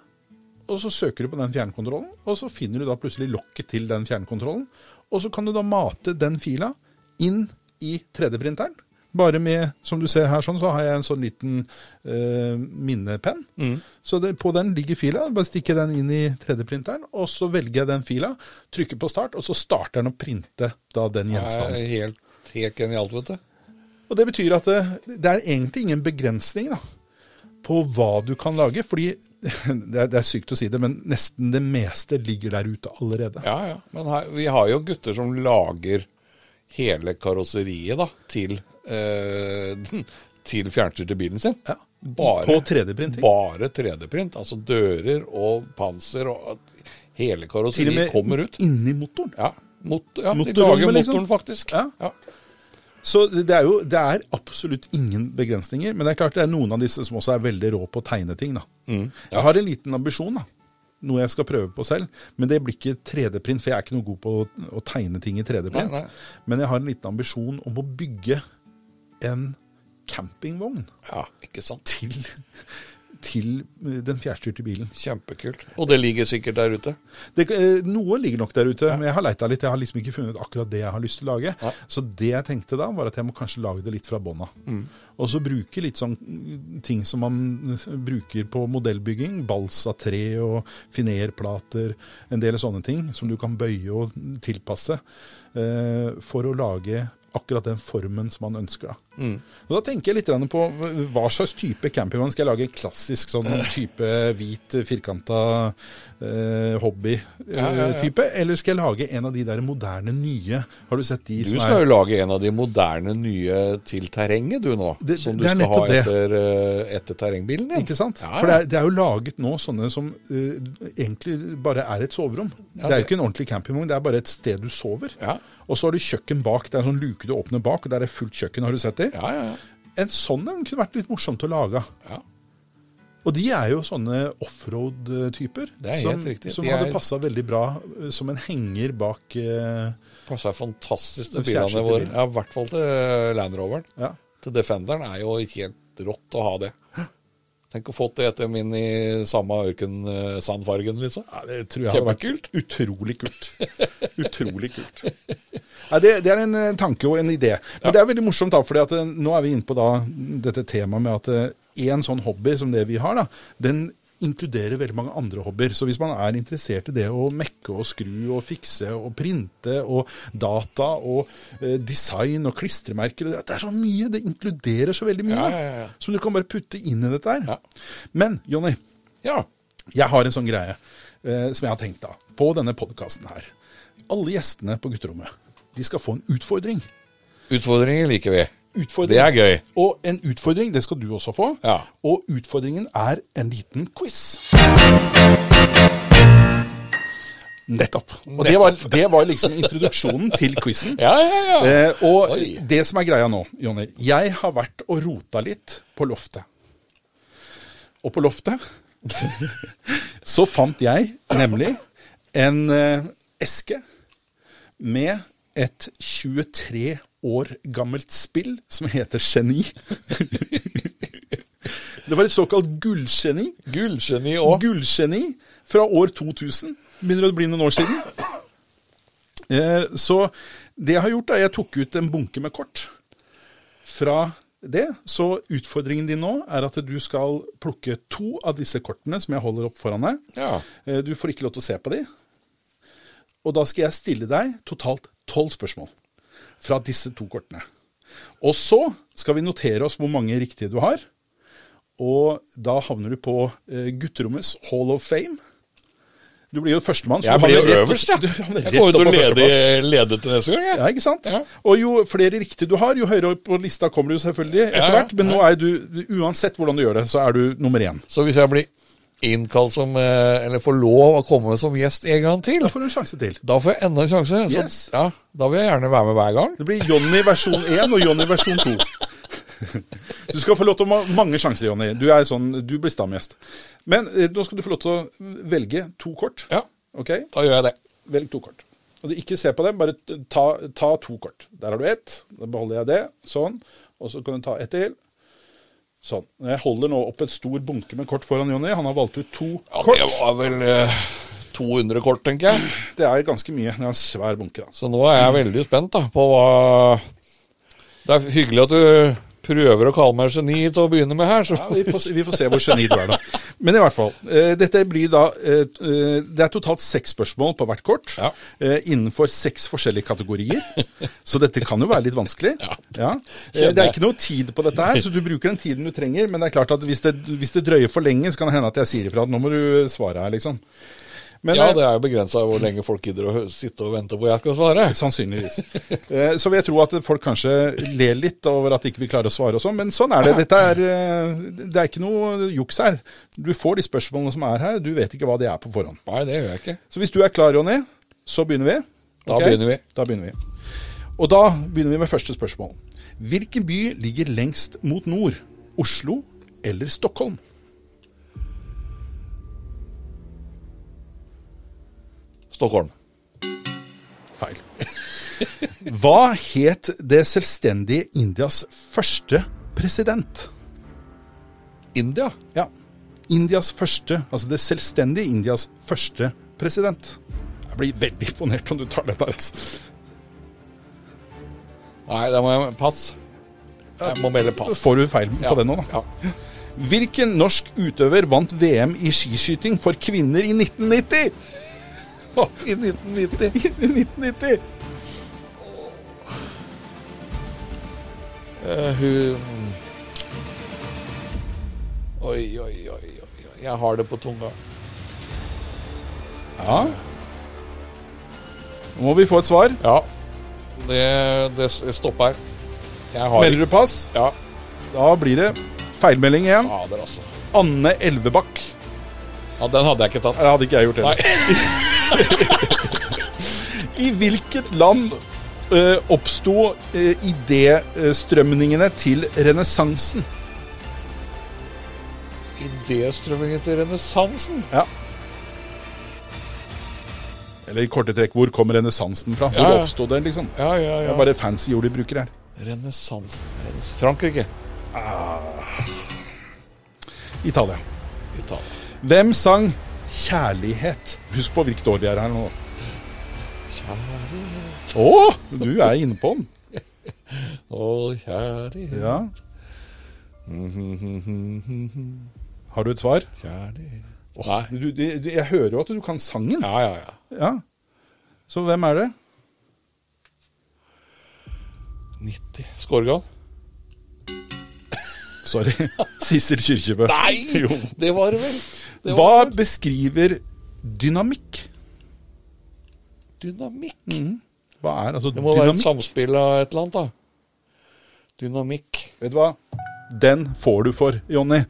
[SPEAKER 1] og så søker du på den fjernkontrollen, og så finner du da plutselig lokket til den fjernkontrollen. Og så kan du da mate den fila inn i 3D-printeren. Bare med, som du ser her sånn, så har jeg en sånn liten eh, minnepenn. Så det, på den ligger fila. Bare stikker den inn i 3D-printeren, og så velger jeg den fila, trykker på start, og så starter den å printe da den
[SPEAKER 2] Det
[SPEAKER 1] gjenstanden.
[SPEAKER 2] er helt, helt genialt, vet du.
[SPEAKER 1] Og det betyr at det, det er egentlig ingen begrensning da, på hva du kan lage. Fordi det er, det er sykt å si det, men nesten det meste ligger der ute allerede.
[SPEAKER 2] Ja, ja. Men her, vi har jo gutter som lager hele karosseriet da, til, eh, til fjernstyrt til bilen sin.
[SPEAKER 1] Ja.
[SPEAKER 2] Bare,
[SPEAKER 1] På 3D-printing.
[SPEAKER 2] Bare 3D-print. Altså dører og panser og at hele
[SPEAKER 1] Til og
[SPEAKER 2] karosseriet kommer ut.
[SPEAKER 1] med inni motoren.
[SPEAKER 2] Ja, mot, ja de
[SPEAKER 1] Motorrommet,
[SPEAKER 2] lager
[SPEAKER 1] liksom.
[SPEAKER 2] motoren faktisk.
[SPEAKER 1] Ja. Så det er jo det er absolutt ingen begrensninger. Men det er klart det er noen av disse som også er veldig rå på å tegne ting. da.
[SPEAKER 2] Mm,
[SPEAKER 1] Jeg har en liten ambisjon, da. Noe jeg skal prøve på selv. Men det blir ikke 3D-print, for jeg er ikke noe god på å, å tegne ting i 3D-print.
[SPEAKER 2] Nei, nei.
[SPEAKER 1] Men jeg har en liten ambisjon om å bygge en campingvogn
[SPEAKER 2] Ja, ikke sant.
[SPEAKER 1] til, til den fjærstyrte bilen.
[SPEAKER 2] Kjempekult. Og det ligger sikkert der ute.
[SPEAKER 1] Det, eh, noe ligger nok der ute, men jeg har leita litt. Jeg har liksom ikke funnet akkurat det jeg har lyst til å lage.
[SPEAKER 2] Nei.
[SPEAKER 1] Så det jeg tenkte da, var at jeg må kanskje lage det litt fra bånn av. Og så bruke litt sånn mm, ting som man mm, bruker på modellbygging. Bals av tre og finerplater. En del sånne ting som du kan bøye og tilpasse eh, for å lage akkurat den formen som man ønsker. da.
[SPEAKER 2] Mm.
[SPEAKER 1] Og da tenker jeg litt grann på hva- hva slags type campingvogn skal jeg lage? En klassisk sånn type hvit, firkanta eh, hobby-type?
[SPEAKER 2] Ja, ja, ja.
[SPEAKER 1] Eller skal jeg lage en av de der moderne, nye? Har du sett de
[SPEAKER 2] Du
[SPEAKER 1] som er
[SPEAKER 2] skal jo lage en av de moderne nye til terrenget du nå.
[SPEAKER 1] Det-
[SPEAKER 2] som du
[SPEAKER 1] det er
[SPEAKER 2] skal ha
[SPEAKER 1] nettopp det.
[SPEAKER 2] etter, eh, etter terrengbilen din.
[SPEAKER 1] Ikke sant?
[SPEAKER 2] Ja,
[SPEAKER 1] For det er, det er jo laget nå sånne som eh, egentlig bare er et soverom. det er jo
[SPEAKER 2] det-
[SPEAKER 1] ikke en ordentlig campingvogn, det er bare et sted du sover.
[SPEAKER 2] Ja.
[SPEAKER 1] Og så har du kjøkken bak. Det er en sånn luke du åpner bak, og der er fullt kjøkken. Har du sett det?
[SPEAKER 2] ja, ja, ja.
[SPEAKER 1] En sånn en kunne vært litt morsomt å lage.
[SPEAKER 2] Ja,
[SPEAKER 1] Og de er jo sånne offroad-typer.
[SPEAKER 2] Det er helt
[SPEAKER 1] Som,
[SPEAKER 2] riktig.
[SPEAKER 1] som
[SPEAKER 2] De er-
[SPEAKER 1] hadde passa veldig bra eh, som en henger bak eh,
[SPEAKER 2] passer fantastisk til
[SPEAKER 1] Den
[SPEAKER 2] bilene
[SPEAKER 1] fjernstyrte
[SPEAKER 2] våre.
[SPEAKER 1] bilen.
[SPEAKER 2] Ja, I hvert fall til Land Roveren.
[SPEAKER 1] Ja.
[SPEAKER 2] Til Defenderen er jo helt rått å ha det. Tenk å få det etter min i samme ørkensandfargen, liksom.
[SPEAKER 1] Ja, det tror jeg hadde vært
[SPEAKER 2] Kjempekult.
[SPEAKER 1] utrolig kult. Utrolig kult. Nei, det, det er en eh, tanke og en idé. Men det er veldig morsomt, da, fordi at eh, nå er vi inne på da, dette temaet med at én sånn hobby som det vi har, da, den inkluderer veldig mange andre hobbyer. Så hvis man er interessert i det å mekke og skru og fikse og printe og data og eh, design og klistremerker Det er så mye. Det inkluderer så veldig mye
[SPEAKER 2] Ja,
[SPEAKER 1] da,
[SPEAKER 2] ja, ja.
[SPEAKER 1] som du kan bare putte inn i dette her.
[SPEAKER 2] Ja.
[SPEAKER 1] Men Jonny,
[SPEAKER 2] Ja.
[SPEAKER 1] jeg har en sånn greie eh, som jeg har tenkt da, på denne podkasten her. Alle gjestene på gutterommet de skal få en utfordring.
[SPEAKER 2] Utfordringer liker vi.
[SPEAKER 1] utfordring.
[SPEAKER 2] Det er gøy.
[SPEAKER 1] Og en utfordring, det skal du også få.
[SPEAKER 2] Ja.
[SPEAKER 1] Og utfordringen er en liten quiz. Nettopp. Og det var, det var liksom introduksjonen til quizen.
[SPEAKER 2] Ja, ja, ja.
[SPEAKER 1] Eh, og
[SPEAKER 2] Oi.
[SPEAKER 1] det som er greia nå, Jonny Jeg har vært og rota litt på loftet. Og på loftet så fant jeg nemlig en eh, eske med et 23 år gammelt spill som heter Geni. Det var et såkalt gullgeni.
[SPEAKER 2] Gullgeni òg.
[SPEAKER 1] Gullgeni fra år 2000. Begynner å bli noen år siden. Eh, så det jeg har gjort, er jeg tok ut en bunke med kort fra det. Så utfordringen din nå er at du skal plukke to av disse kortene som jeg holder opp foran deg.
[SPEAKER 2] Ja.
[SPEAKER 1] Eh, du får ikke lov til å se på de. Og da skal jeg stille deg totalt tolv spørsmål fra disse to kortene. Og så skal vi notere oss hvor mange riktige du har. Og da havner du på eh, gutterommets Hall of Fame. Du blir jo førstemann. så
[SPEAKER 2] Jeg
[SPEAKER 1] du
[SPEAKER 2] blir
[SPEAKER 1] havner
[SPEAKER 2] jo
[SPEAKER 1] rett-
[SPEAKER 2] øverst, jeg.
[SPEAKER 1] du havner
[SPEAKER 2] Jeg
[SPEAKER 1] rett
[SPEAKER 2] kommer
[SPEAKER 1] opp
[SPEAKER 2] til å
[SPEAKER 1] på
[SPEAKER 2] lede,
[SPEAKER 1] førsteplass.
[SPEAKER 2] lede til neste gang, jeg.
[SPEAKER 1] Ja, ikke sant?
[SPEAKER 2] Ja.
[SPEAKER 1] Og jo flere riktige du har, jo høyere opp på lista kommer du selvfølgelig etter
[SPEAKER 2] Ja, ja.
[SPEAKER 1] hvert. Men nå er du, uansett hvordan du gjør det, så er du nummer én.
[SPEAKER 2] Så hvis jeg blir innkalt som eh, Eller får lov å komme som gjest en gang til,
[SPEAKER 1] Da får du en sjanse til.
[SPEAKER 2] da får jeg enda en sjanse. Så,
[SPEAKER 1] Yes.
[SPEAKER 2] ja, da vil jeg gjerne være med hver gang.
[SPEAKER 1] Det blir Jonny versjon 1 og Jonny versjon 2. Du skal få lov til å ha mange sjanser, Jonny. Du, er sånn, du blir stamgjest. Men eh, nå skal du få lov til å velge to kort.
[SPEAKER 2] Ja,
[SPEAKER 1] Ok?
[SPEAKER 2] da gjør jeg det.
[SPEAKER 1] Velg to kort. Og du- ikke se på dem, bare t- ta, ta to kort. Der har du ett. Da beholder jeg det. Sånn. Og så kan du ta ett til. Sånn. Jeg holder nå opp et stor bunke med kort foran Jonny. Han har valgt ut to
[SPEAKER 2] Ja,
[SPEAKER 1] kort.
[SPEAKER 2] det var vel eh, 200 kort, tenker jeg.
[SPEAKER 1] Det er ganske mye. Det er en svær bunke. altså. da.
[SPEAKER 2] Så nå er jeg veldig spent da, på hva Det er hyggelig at du prøver å kalle meg geni til å begynne med her. Så.
[SPEAKER 1] Ja, vi, får, se- vi får se hvor geni du er, da. Men i hvert fall. eh, dette blir da eh, eh, Det er totalt seks spørsmål på hvert kort.
[SPEAKER 2] Ja.
[SPEAKER 1] eh, innenfor seks forskjellige kategorier. Så dette kan jo være litt vanskelig.
[SPEAKER 2] Ja.
[SPEAKER 1] Eh, det er ikke noe tid på dette her, så du bruker den tiden du trenger. Men det er klart at hvis det, hvis det drøyer for lenge, så kan det hende at jeg sier ifra at nå må du svare her, liksom. Men,
[SPEAKER 2] Ja,
[SPEAKER 1] eh,
[SPEAKER 2] det er jo begrensa hvor lenge folk gidder å hø- sitte og vente på at jeg skal svare.
[SPEAKER 1] Sannsynligvis. Eh, Så vil jeg tro at folk kanskje ler litt over at ikke vi klarer å svare og sånn, men sånn er det. Dette er, eh, det er ikke noe juks her. Du får de spørsmålene som er her, du vet ikke hva det er på forhånd.
[SPEAKER 2] Nei, det gjør jeg ikke.
[SPEAKER 1] Så hvis du er klar, Jonny, så begynner vi.
[SPEAKER 2] Da
[SPEAKER 1] Ok?
[SPEAKER 2] begynner vi.
[SPEAKER 1] Da begynner vi. Og da begynner vi med første spørsmål. Hvilken by ligger lengst mot nord? Oslo eller Stockholm?
[SPEAKER 2] Stockholm.
[SPEAKER 1] Feil. Hva het det selvstendige Indias første president?
[SPEAKER 2] India.
[SPEAKER 1] Ja. Indias første, altså det selvstendige Indias første president. Jeg blir veldig imponert om du tar dette. her, Altså.
[SPEAKER 2] Nei, da må jeg pass. Jeg må melde pass.
[SPEAKER 1] Får du feil på
[SPEAKER 2] Ja,
[SPEAKER 1] den nå, da?
[SPEAKER 2] Ja.
[SPEAKER 1] Hvilken norsk utøver vant VM i skiskyting for kvinner i 1990?
[SPEAKER 2] I 1990.
[SPEAKER 1] I 1990!
[SPEAKER 2] Eh, hun Oi, oi, oi, oi. oi. Jeg har det på tunga.
[SPEAKER 1] Ja. Nå må vi få et svar.
[SPEAKER 2] Ja. Det, det stopp her. Jeg har
[SPEAKER 1] Melder du pass?
[SPEAKER 2] Ja.
[SPEAKER 1] Da blir det feilmelding igjen.
[SPEAKER 2] Fader, altså.
[SPEAKER 1] Anne Elvebakk.
[SPEAKER 2] Ja, den hadde jeg ikke tatt.
[SPEAKER 1] Det hadde ikke jeg gjort heller. I hvilket land uh, oppsto eh, idéstrømningene til renessansen?
[SPEAKER 2] Idéstrømmingen til renessansen.
[SPEAKER 1] Ja. Eller i korte trekk, hvor kom renessansen fra? Hvor
[SPEAKER 2] Ja, ja.
[SPEAKER 1] oppsto den, liksom?
[SPEAKER 2] Ja, ja,
[SPEAKER 1] Det er bare fancy ord de bruker her.
[SPEAKER 2] Renessansen reness- Frankrike.
[SPEAKER 1] Italia.
[SPEAKER 2] Italia.
[SPEAKER 1] Hvem sang 'Kjærlighet'? Husk på hvilket år vi er her nå. Å, du er inne på den.
[SPEAKER 2] Å, kjærlighet,
[SPEAKER 1] Ja. Mm-hmm. Har du et svar?
[SPEAKER 2] kjærlighet Nei.
[SPEAKER 1] Du, du, du, jeg hører jo at du kan sangen.
[SPEAKER 2] Ja, ja, ja.
[SPEAKER 1] Ja. Så hvem er det?
[SPEAKER 2] 90. Skårgan?
[SPEAKER 1] Sorry. Sissel Kyrkjebø.
[SPEAKER 2] Nei!
[SPEAKER 1] Jo.
[SPEAKER 2] Det var det vel. Det
[SPEAKER 1] Hva
[SPEAKER 2] var vel
[SPEAKER 1] beskriver dynamikk?
[SPEAKER 2] Dynamikk.
[SPEAKER 1] Hva er altså
[SPEAKER 2] Det må være et
[SPEAKER 1] Mhm. dynamikk?
[SPEAKER 2] samspill av et eller annet, da. Dynamikk.
[SPEAKER 1] Vet du hva? Den får du for, Jonny.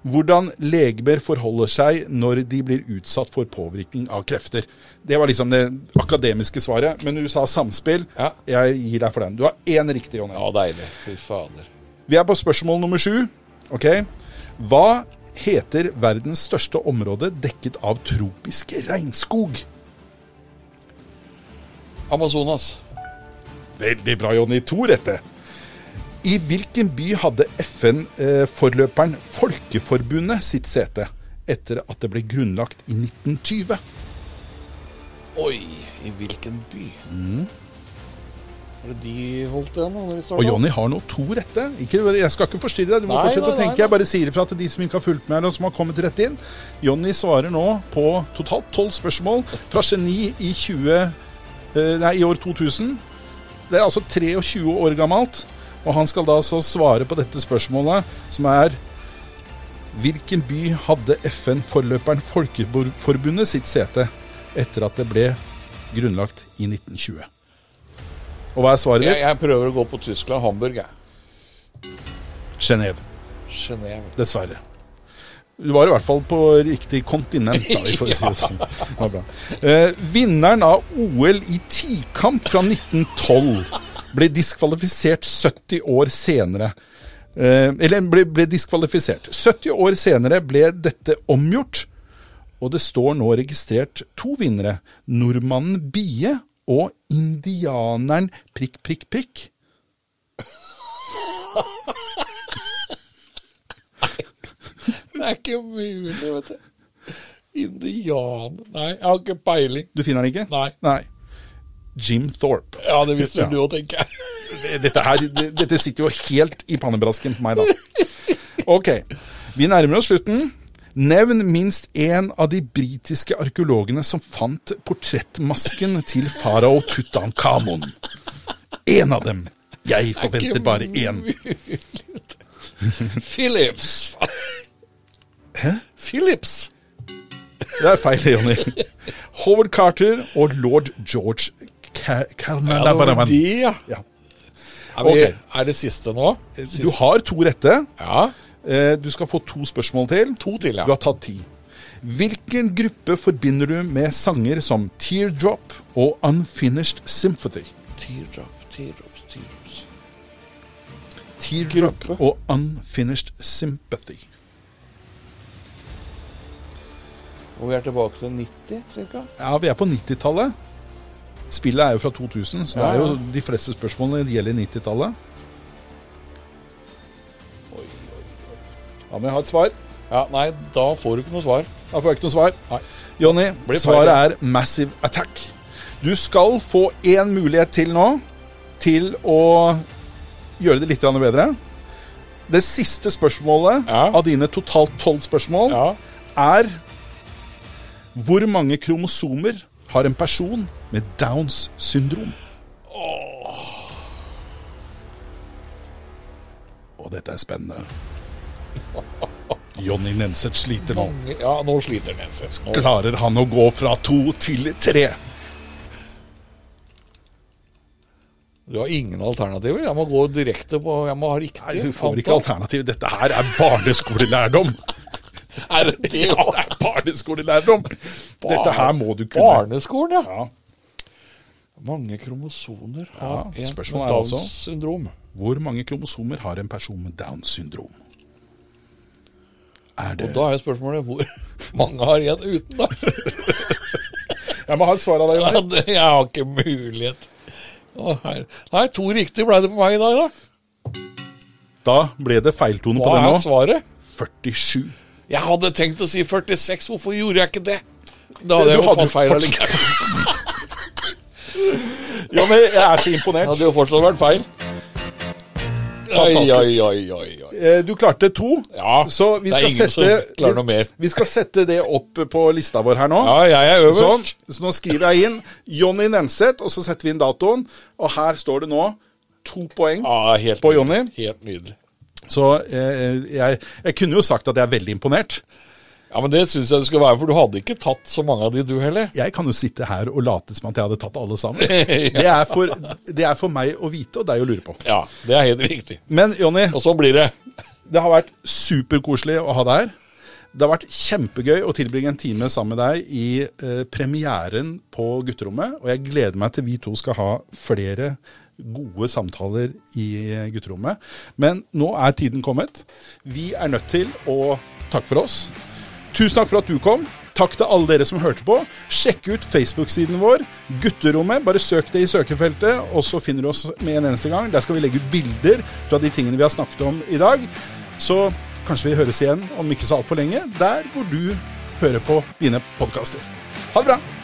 [SPEAKER 1] Hvordan legemer forholder seg når de blir utsatt for påvirkning av krefter. Det var liksom det akademiske svaret, men du sa samspill.
[SPEAKER 2] Ja.
[SPEAKER 1] Jeg gir deg for den. Du har én riktig, Jonny.
[SPEAKER 2] Ja, deilig. Fy fader.
[SPEAKER 1] Vi er på spørsmål nummer sju. Ok. Hva heter verdens største område dekket av tropisk regnskog?
[SPEAKER 2] Amazonas.
[SPEAKER 1] Veldig bra, Jonny. To rette. I hvilken by hadde FN-forløperen Folkeforbundet sitt sete etter at det ble grunnlagt i 1920?
[SPEAKER 2] Oi, i hvilken by? Mm. Var det de holdt igjen da? Når de
[SPEAKER 1] Og Jonny har nå to rette. Ikke, jeg skal ikke forstyrre deg, du må
[SPEAKER 2] Nei,
[SPEAKER 1] fortsette
[SPEAKER 2] nei,
[SPEAKER 1] å
[SPEAKER 2] nei,
[SPEAKER 1] tenke. Jeg bare sier ifra til de som ikke har fulgt med, eller som har kommet rett inn. Jonny svarer nå på totalt tolv spørsmål fra Geni i, 20, eh, nei, i år 2000. Det er altså 23 år gammelt, og han skal da så svare på dette spørsmålet, som er Hvilken by hadde FN-forløperen Folkeforbundet sitt sete etter at det ble grunnlagt i 1920? Og hva er svaret
[SPEAKER 2] Jeg,
[SPEAKER 1] ditt?
[SPEAKER 2] jeg prøver å gå på Tyskland. Hamburg, jeg.
[SPEAKER 1] Genéve.
[SPEAKER 2] Genève.
[SPEAKER 1] Dessverre. Du var i hvert fall på riktig kontinent, da, vi får si det sånn. Det var bra. Eh, vinneren av OL i tikamp fra 1912 ble diskvalifisert 70 år senere. Eh, eller ble, ble diskvalifisert. 70 år senere ble dette omgjort, og det står nå registrert to vinnere. Nordmannen Bie og indianeren prikk, prikk, prikk.
[SPEAKER 2] Det er ikke mulig, vet du. Indian Nei, jeg har ikke peiling.
[SPEAKER 1] Du finner den ikke?
[SPEAKER 2] Nei.
[SPEAKER 1] Nei. Jim Thorpe.
[SPEAKER 2] Ja, det visste
[SPEAKER 1] Ja.
[SPEAKER 2] du òg, tenker jeg.
[SPEAKER 1] dette, her, det- dette sitter jo helt i pannebrasken på meg, da. Ok, vi nærmer oss slutten. Nevn minst én av de britiske arkeologene som fant portrettmasken til farao Tutankhamon. Én av dem. Jeg forventer bare én.
[SPEAKER 2] Philips. Hæ? Philips.
[SPEAKER 1] Det er feil, Jonny. Howard Carter og lord George Ka-
[SPEAKER 2] Ja, det var de,
[SPEAKER 1] Carnarvon.
[SPEAKER 2] ja.
[SPEAKER 1] Ja.
[SPEAKER 2] Er, vi,
[SPEAKER 1] Ok.
[SPEAKER 2] er det siste nå?
[SPEAKER 1] Du har to rette.
[SPEAKER 2] Ja.
[SPEAKER 1] Eh, Du skal få to spørsmål til.
[SPEAKER 2] To til, ja.
[SPEAKER 1] Du har tatt ti. Hvilken gruppe forbinder du med sanger som Teardrop og Unfinished Sympathy?
[SPEAKER 2] Teardrop, teardrops, teardrops.
[SPEAKER 1] Teardrop
[SPEAKER 2] Gruppe?
[SPEAKER 1] og Unfinished Sympathy.
[SPEAKER 2] Og vi er tilbake til 90, cirka?
[SPEAKER 1] Ja, vi er på 90-tallet. Spillet er jo fra 2000, så det
[SPEAKER 2] Ja,
[SPEAKER 1] er
[SPEAKER 2] ja.
[SPEAKER 1] jo de fleste spørsmålene gjelder 90-tallet. Da må jeg ha et svar.
[SPEAKER 2] Ja, nei, da får du ikke noe svar.
[SPEAKER 1] Da får jeg ikke noe svar.
[SPEAKER 2] Nei.
[SPEAKER 1] Jonny,
[SPEAKER 2] Blir feil,
[SPEAKER 1] svaret
[SPEAKER 2] ja.
[SPEAKER 1] er Massive Attack. Du skal få én mulighet til nå til å gjøre det litt grann bedre. Det siste spørsmålet
[SPEAKER 2] Ja.
[SPEAKER 1] av dine totalt tolv spørsmål
[SPEAKER 2] Ja.
[SPEAKER 1] er Hvor mange kromosomer har en person med Downs syndrom? Og dette er spennende. Jonny Nenseth sliter nå.
[SPEAKER 2] Mange, ja, nå sliter den seg. Nå-
[SPEAKER 1] Klarer han å gå fra to til tre?
[SPEAKER 2] Du har ingen alternativer. Jeg må gå direkte på Jeg må ha riktig.
[SPEAKER 1] Nei, du får ikke
[SPEAKER 2] antall.
[SPEAKER 1] alternativ. Dette her er barneskolelærdom.
[SPEAKER 2] Er det det?
[SPEAKER 1] Ja, det er barneskolelærdom. Dette her må du kunne.
[SPEAKER 2] Barneskolen, ja.
[SPEAKER 1] Ja.
[SPEAKER 2] Mange kromosoner
[SPEAKER 1] Ja,
[SPEAKER 2] har en
[SPEAKER 1] spørsmålet
[SPEAKER 2] med
[SPEAKER 1] er
[SPEAKER 2] Downs
[SPEAKER 1] altså-
[SPEAKER 2] syndrom.
[SPEAKER 1] Hvor mange kromosomer har en person med Downs syndrom? Er
[SPEAKER 2] Og
[SPEAKER 1] det
[SPEAKER 2] da er jo spørsmålet hvor mange har igjen uten, da.
[SPEAKER 1] Jeg må ha et svar av deg,
[SPEAKER 2] Ja, det- Jeg har ikke mulighet. Å, herre. Nei, to riktige ble det på meg i dag, da.
[SPEAKER 1] Da ble det feiltone på
[SPEAKER 2] Hva er
[SPEAKER 1] den nå.
[SPEAKER 2] svaret?
[SPEAKER 1] 47.
[SPEAKER 2] Jeg hadde tenkt å si 46, hvorfor gjorde jeg ikke det? Da
[SPEAKER 1] Du
[SPEAKER 2] hadde jeg jo
[SPEAKER 1] hadde
[SPEAKER 2] fått feil
[SPEAKER 1] jo
[SPEAKER 2] allikevel.
[SPEAKER 1] Ja, men jeg er så
[SPEAKER 2] Det
[SPEAKER 1] imponert.
[SPEAKER 2] hadde jo fortsatt vært feil. Oi, oi,
[SPEAKER 1] Fantastisk.
[SPEAKER 2] oi, oi, oi.
[SPEAKER 1] Eh, Du klarte to.
[SPEAKER 2] Ja,
[SPEAKER 1] Så vi
[SPEAKER 2] det er
[SPEAKER 1] skal,
[SPEAKER 2] ingen som klarer
[SPEAKER 1] sette,
[SPEAKER 2] noe mer.
[SPEAKER 1] vi skal sette det opp på lista vår her nå.
[SPEAKER 2] Ja, jeg er
[SPEAKER 1] Sånn,
[SPEAKER 2] øverst.
[SPEAKER 1] så nå skriver jeg inn Jonny Nenseth, og så setter vi inn datoen. Og her står det nå to poeng
[SPEAKER 2] Ja, helt
[SPEAKER 1] på
[SPEAKER 2] nydelig.
[SPEAKER 1] Jonny.
[SPEAKER 2] Helt nydelig.
[SPEAKER 1] Så eh, jeg, jeg kunne jo sagt at jeg er veldig imponert.
[SPEAKER 2] Ja, men det syns jeg det skulle være, for du hadde ikke tatt så mange av de, du heller.
[SPEAKER 1] Jeg kan jo sitte her og late som at jeg hadde tatt alle sammen.
[SPEAKER 2] Ja.
[SPEAKER 1] Det er for, det er for meg å vite og deg å lure på.
[SPEAKER 2] Ja, det er helt riktig.
[SPEAKER 1] Men Jonny,
[SPEAKER 2] Og sånn blir det.
[SPEAKER 1] Det har vært superkoselig å ha deg her. Det har vært kjempegøy å tilbringe en time sammen med deg i eh, premieren på gutterommet. Og jeg gleder meg til vi to skal ha flere gode samtaler i eh, gutterommet. Men nå er tiden kommet. Vi er nødt til å takke for oss. Tusen takk for at du kom. Takk til alle dere som hørte på. Sjekk ut Facebook-siden vår, Gutterommet. Bare søk det i søkefeltet, og så finner du oss med en eneste gang. Der skal vi legge ut bilder fra de tingene vi har snakket om i dag. Så kanskje vi høres igjen om ikke så altfor lenge, der hvor du hører på dine podkaster. Ha det bra!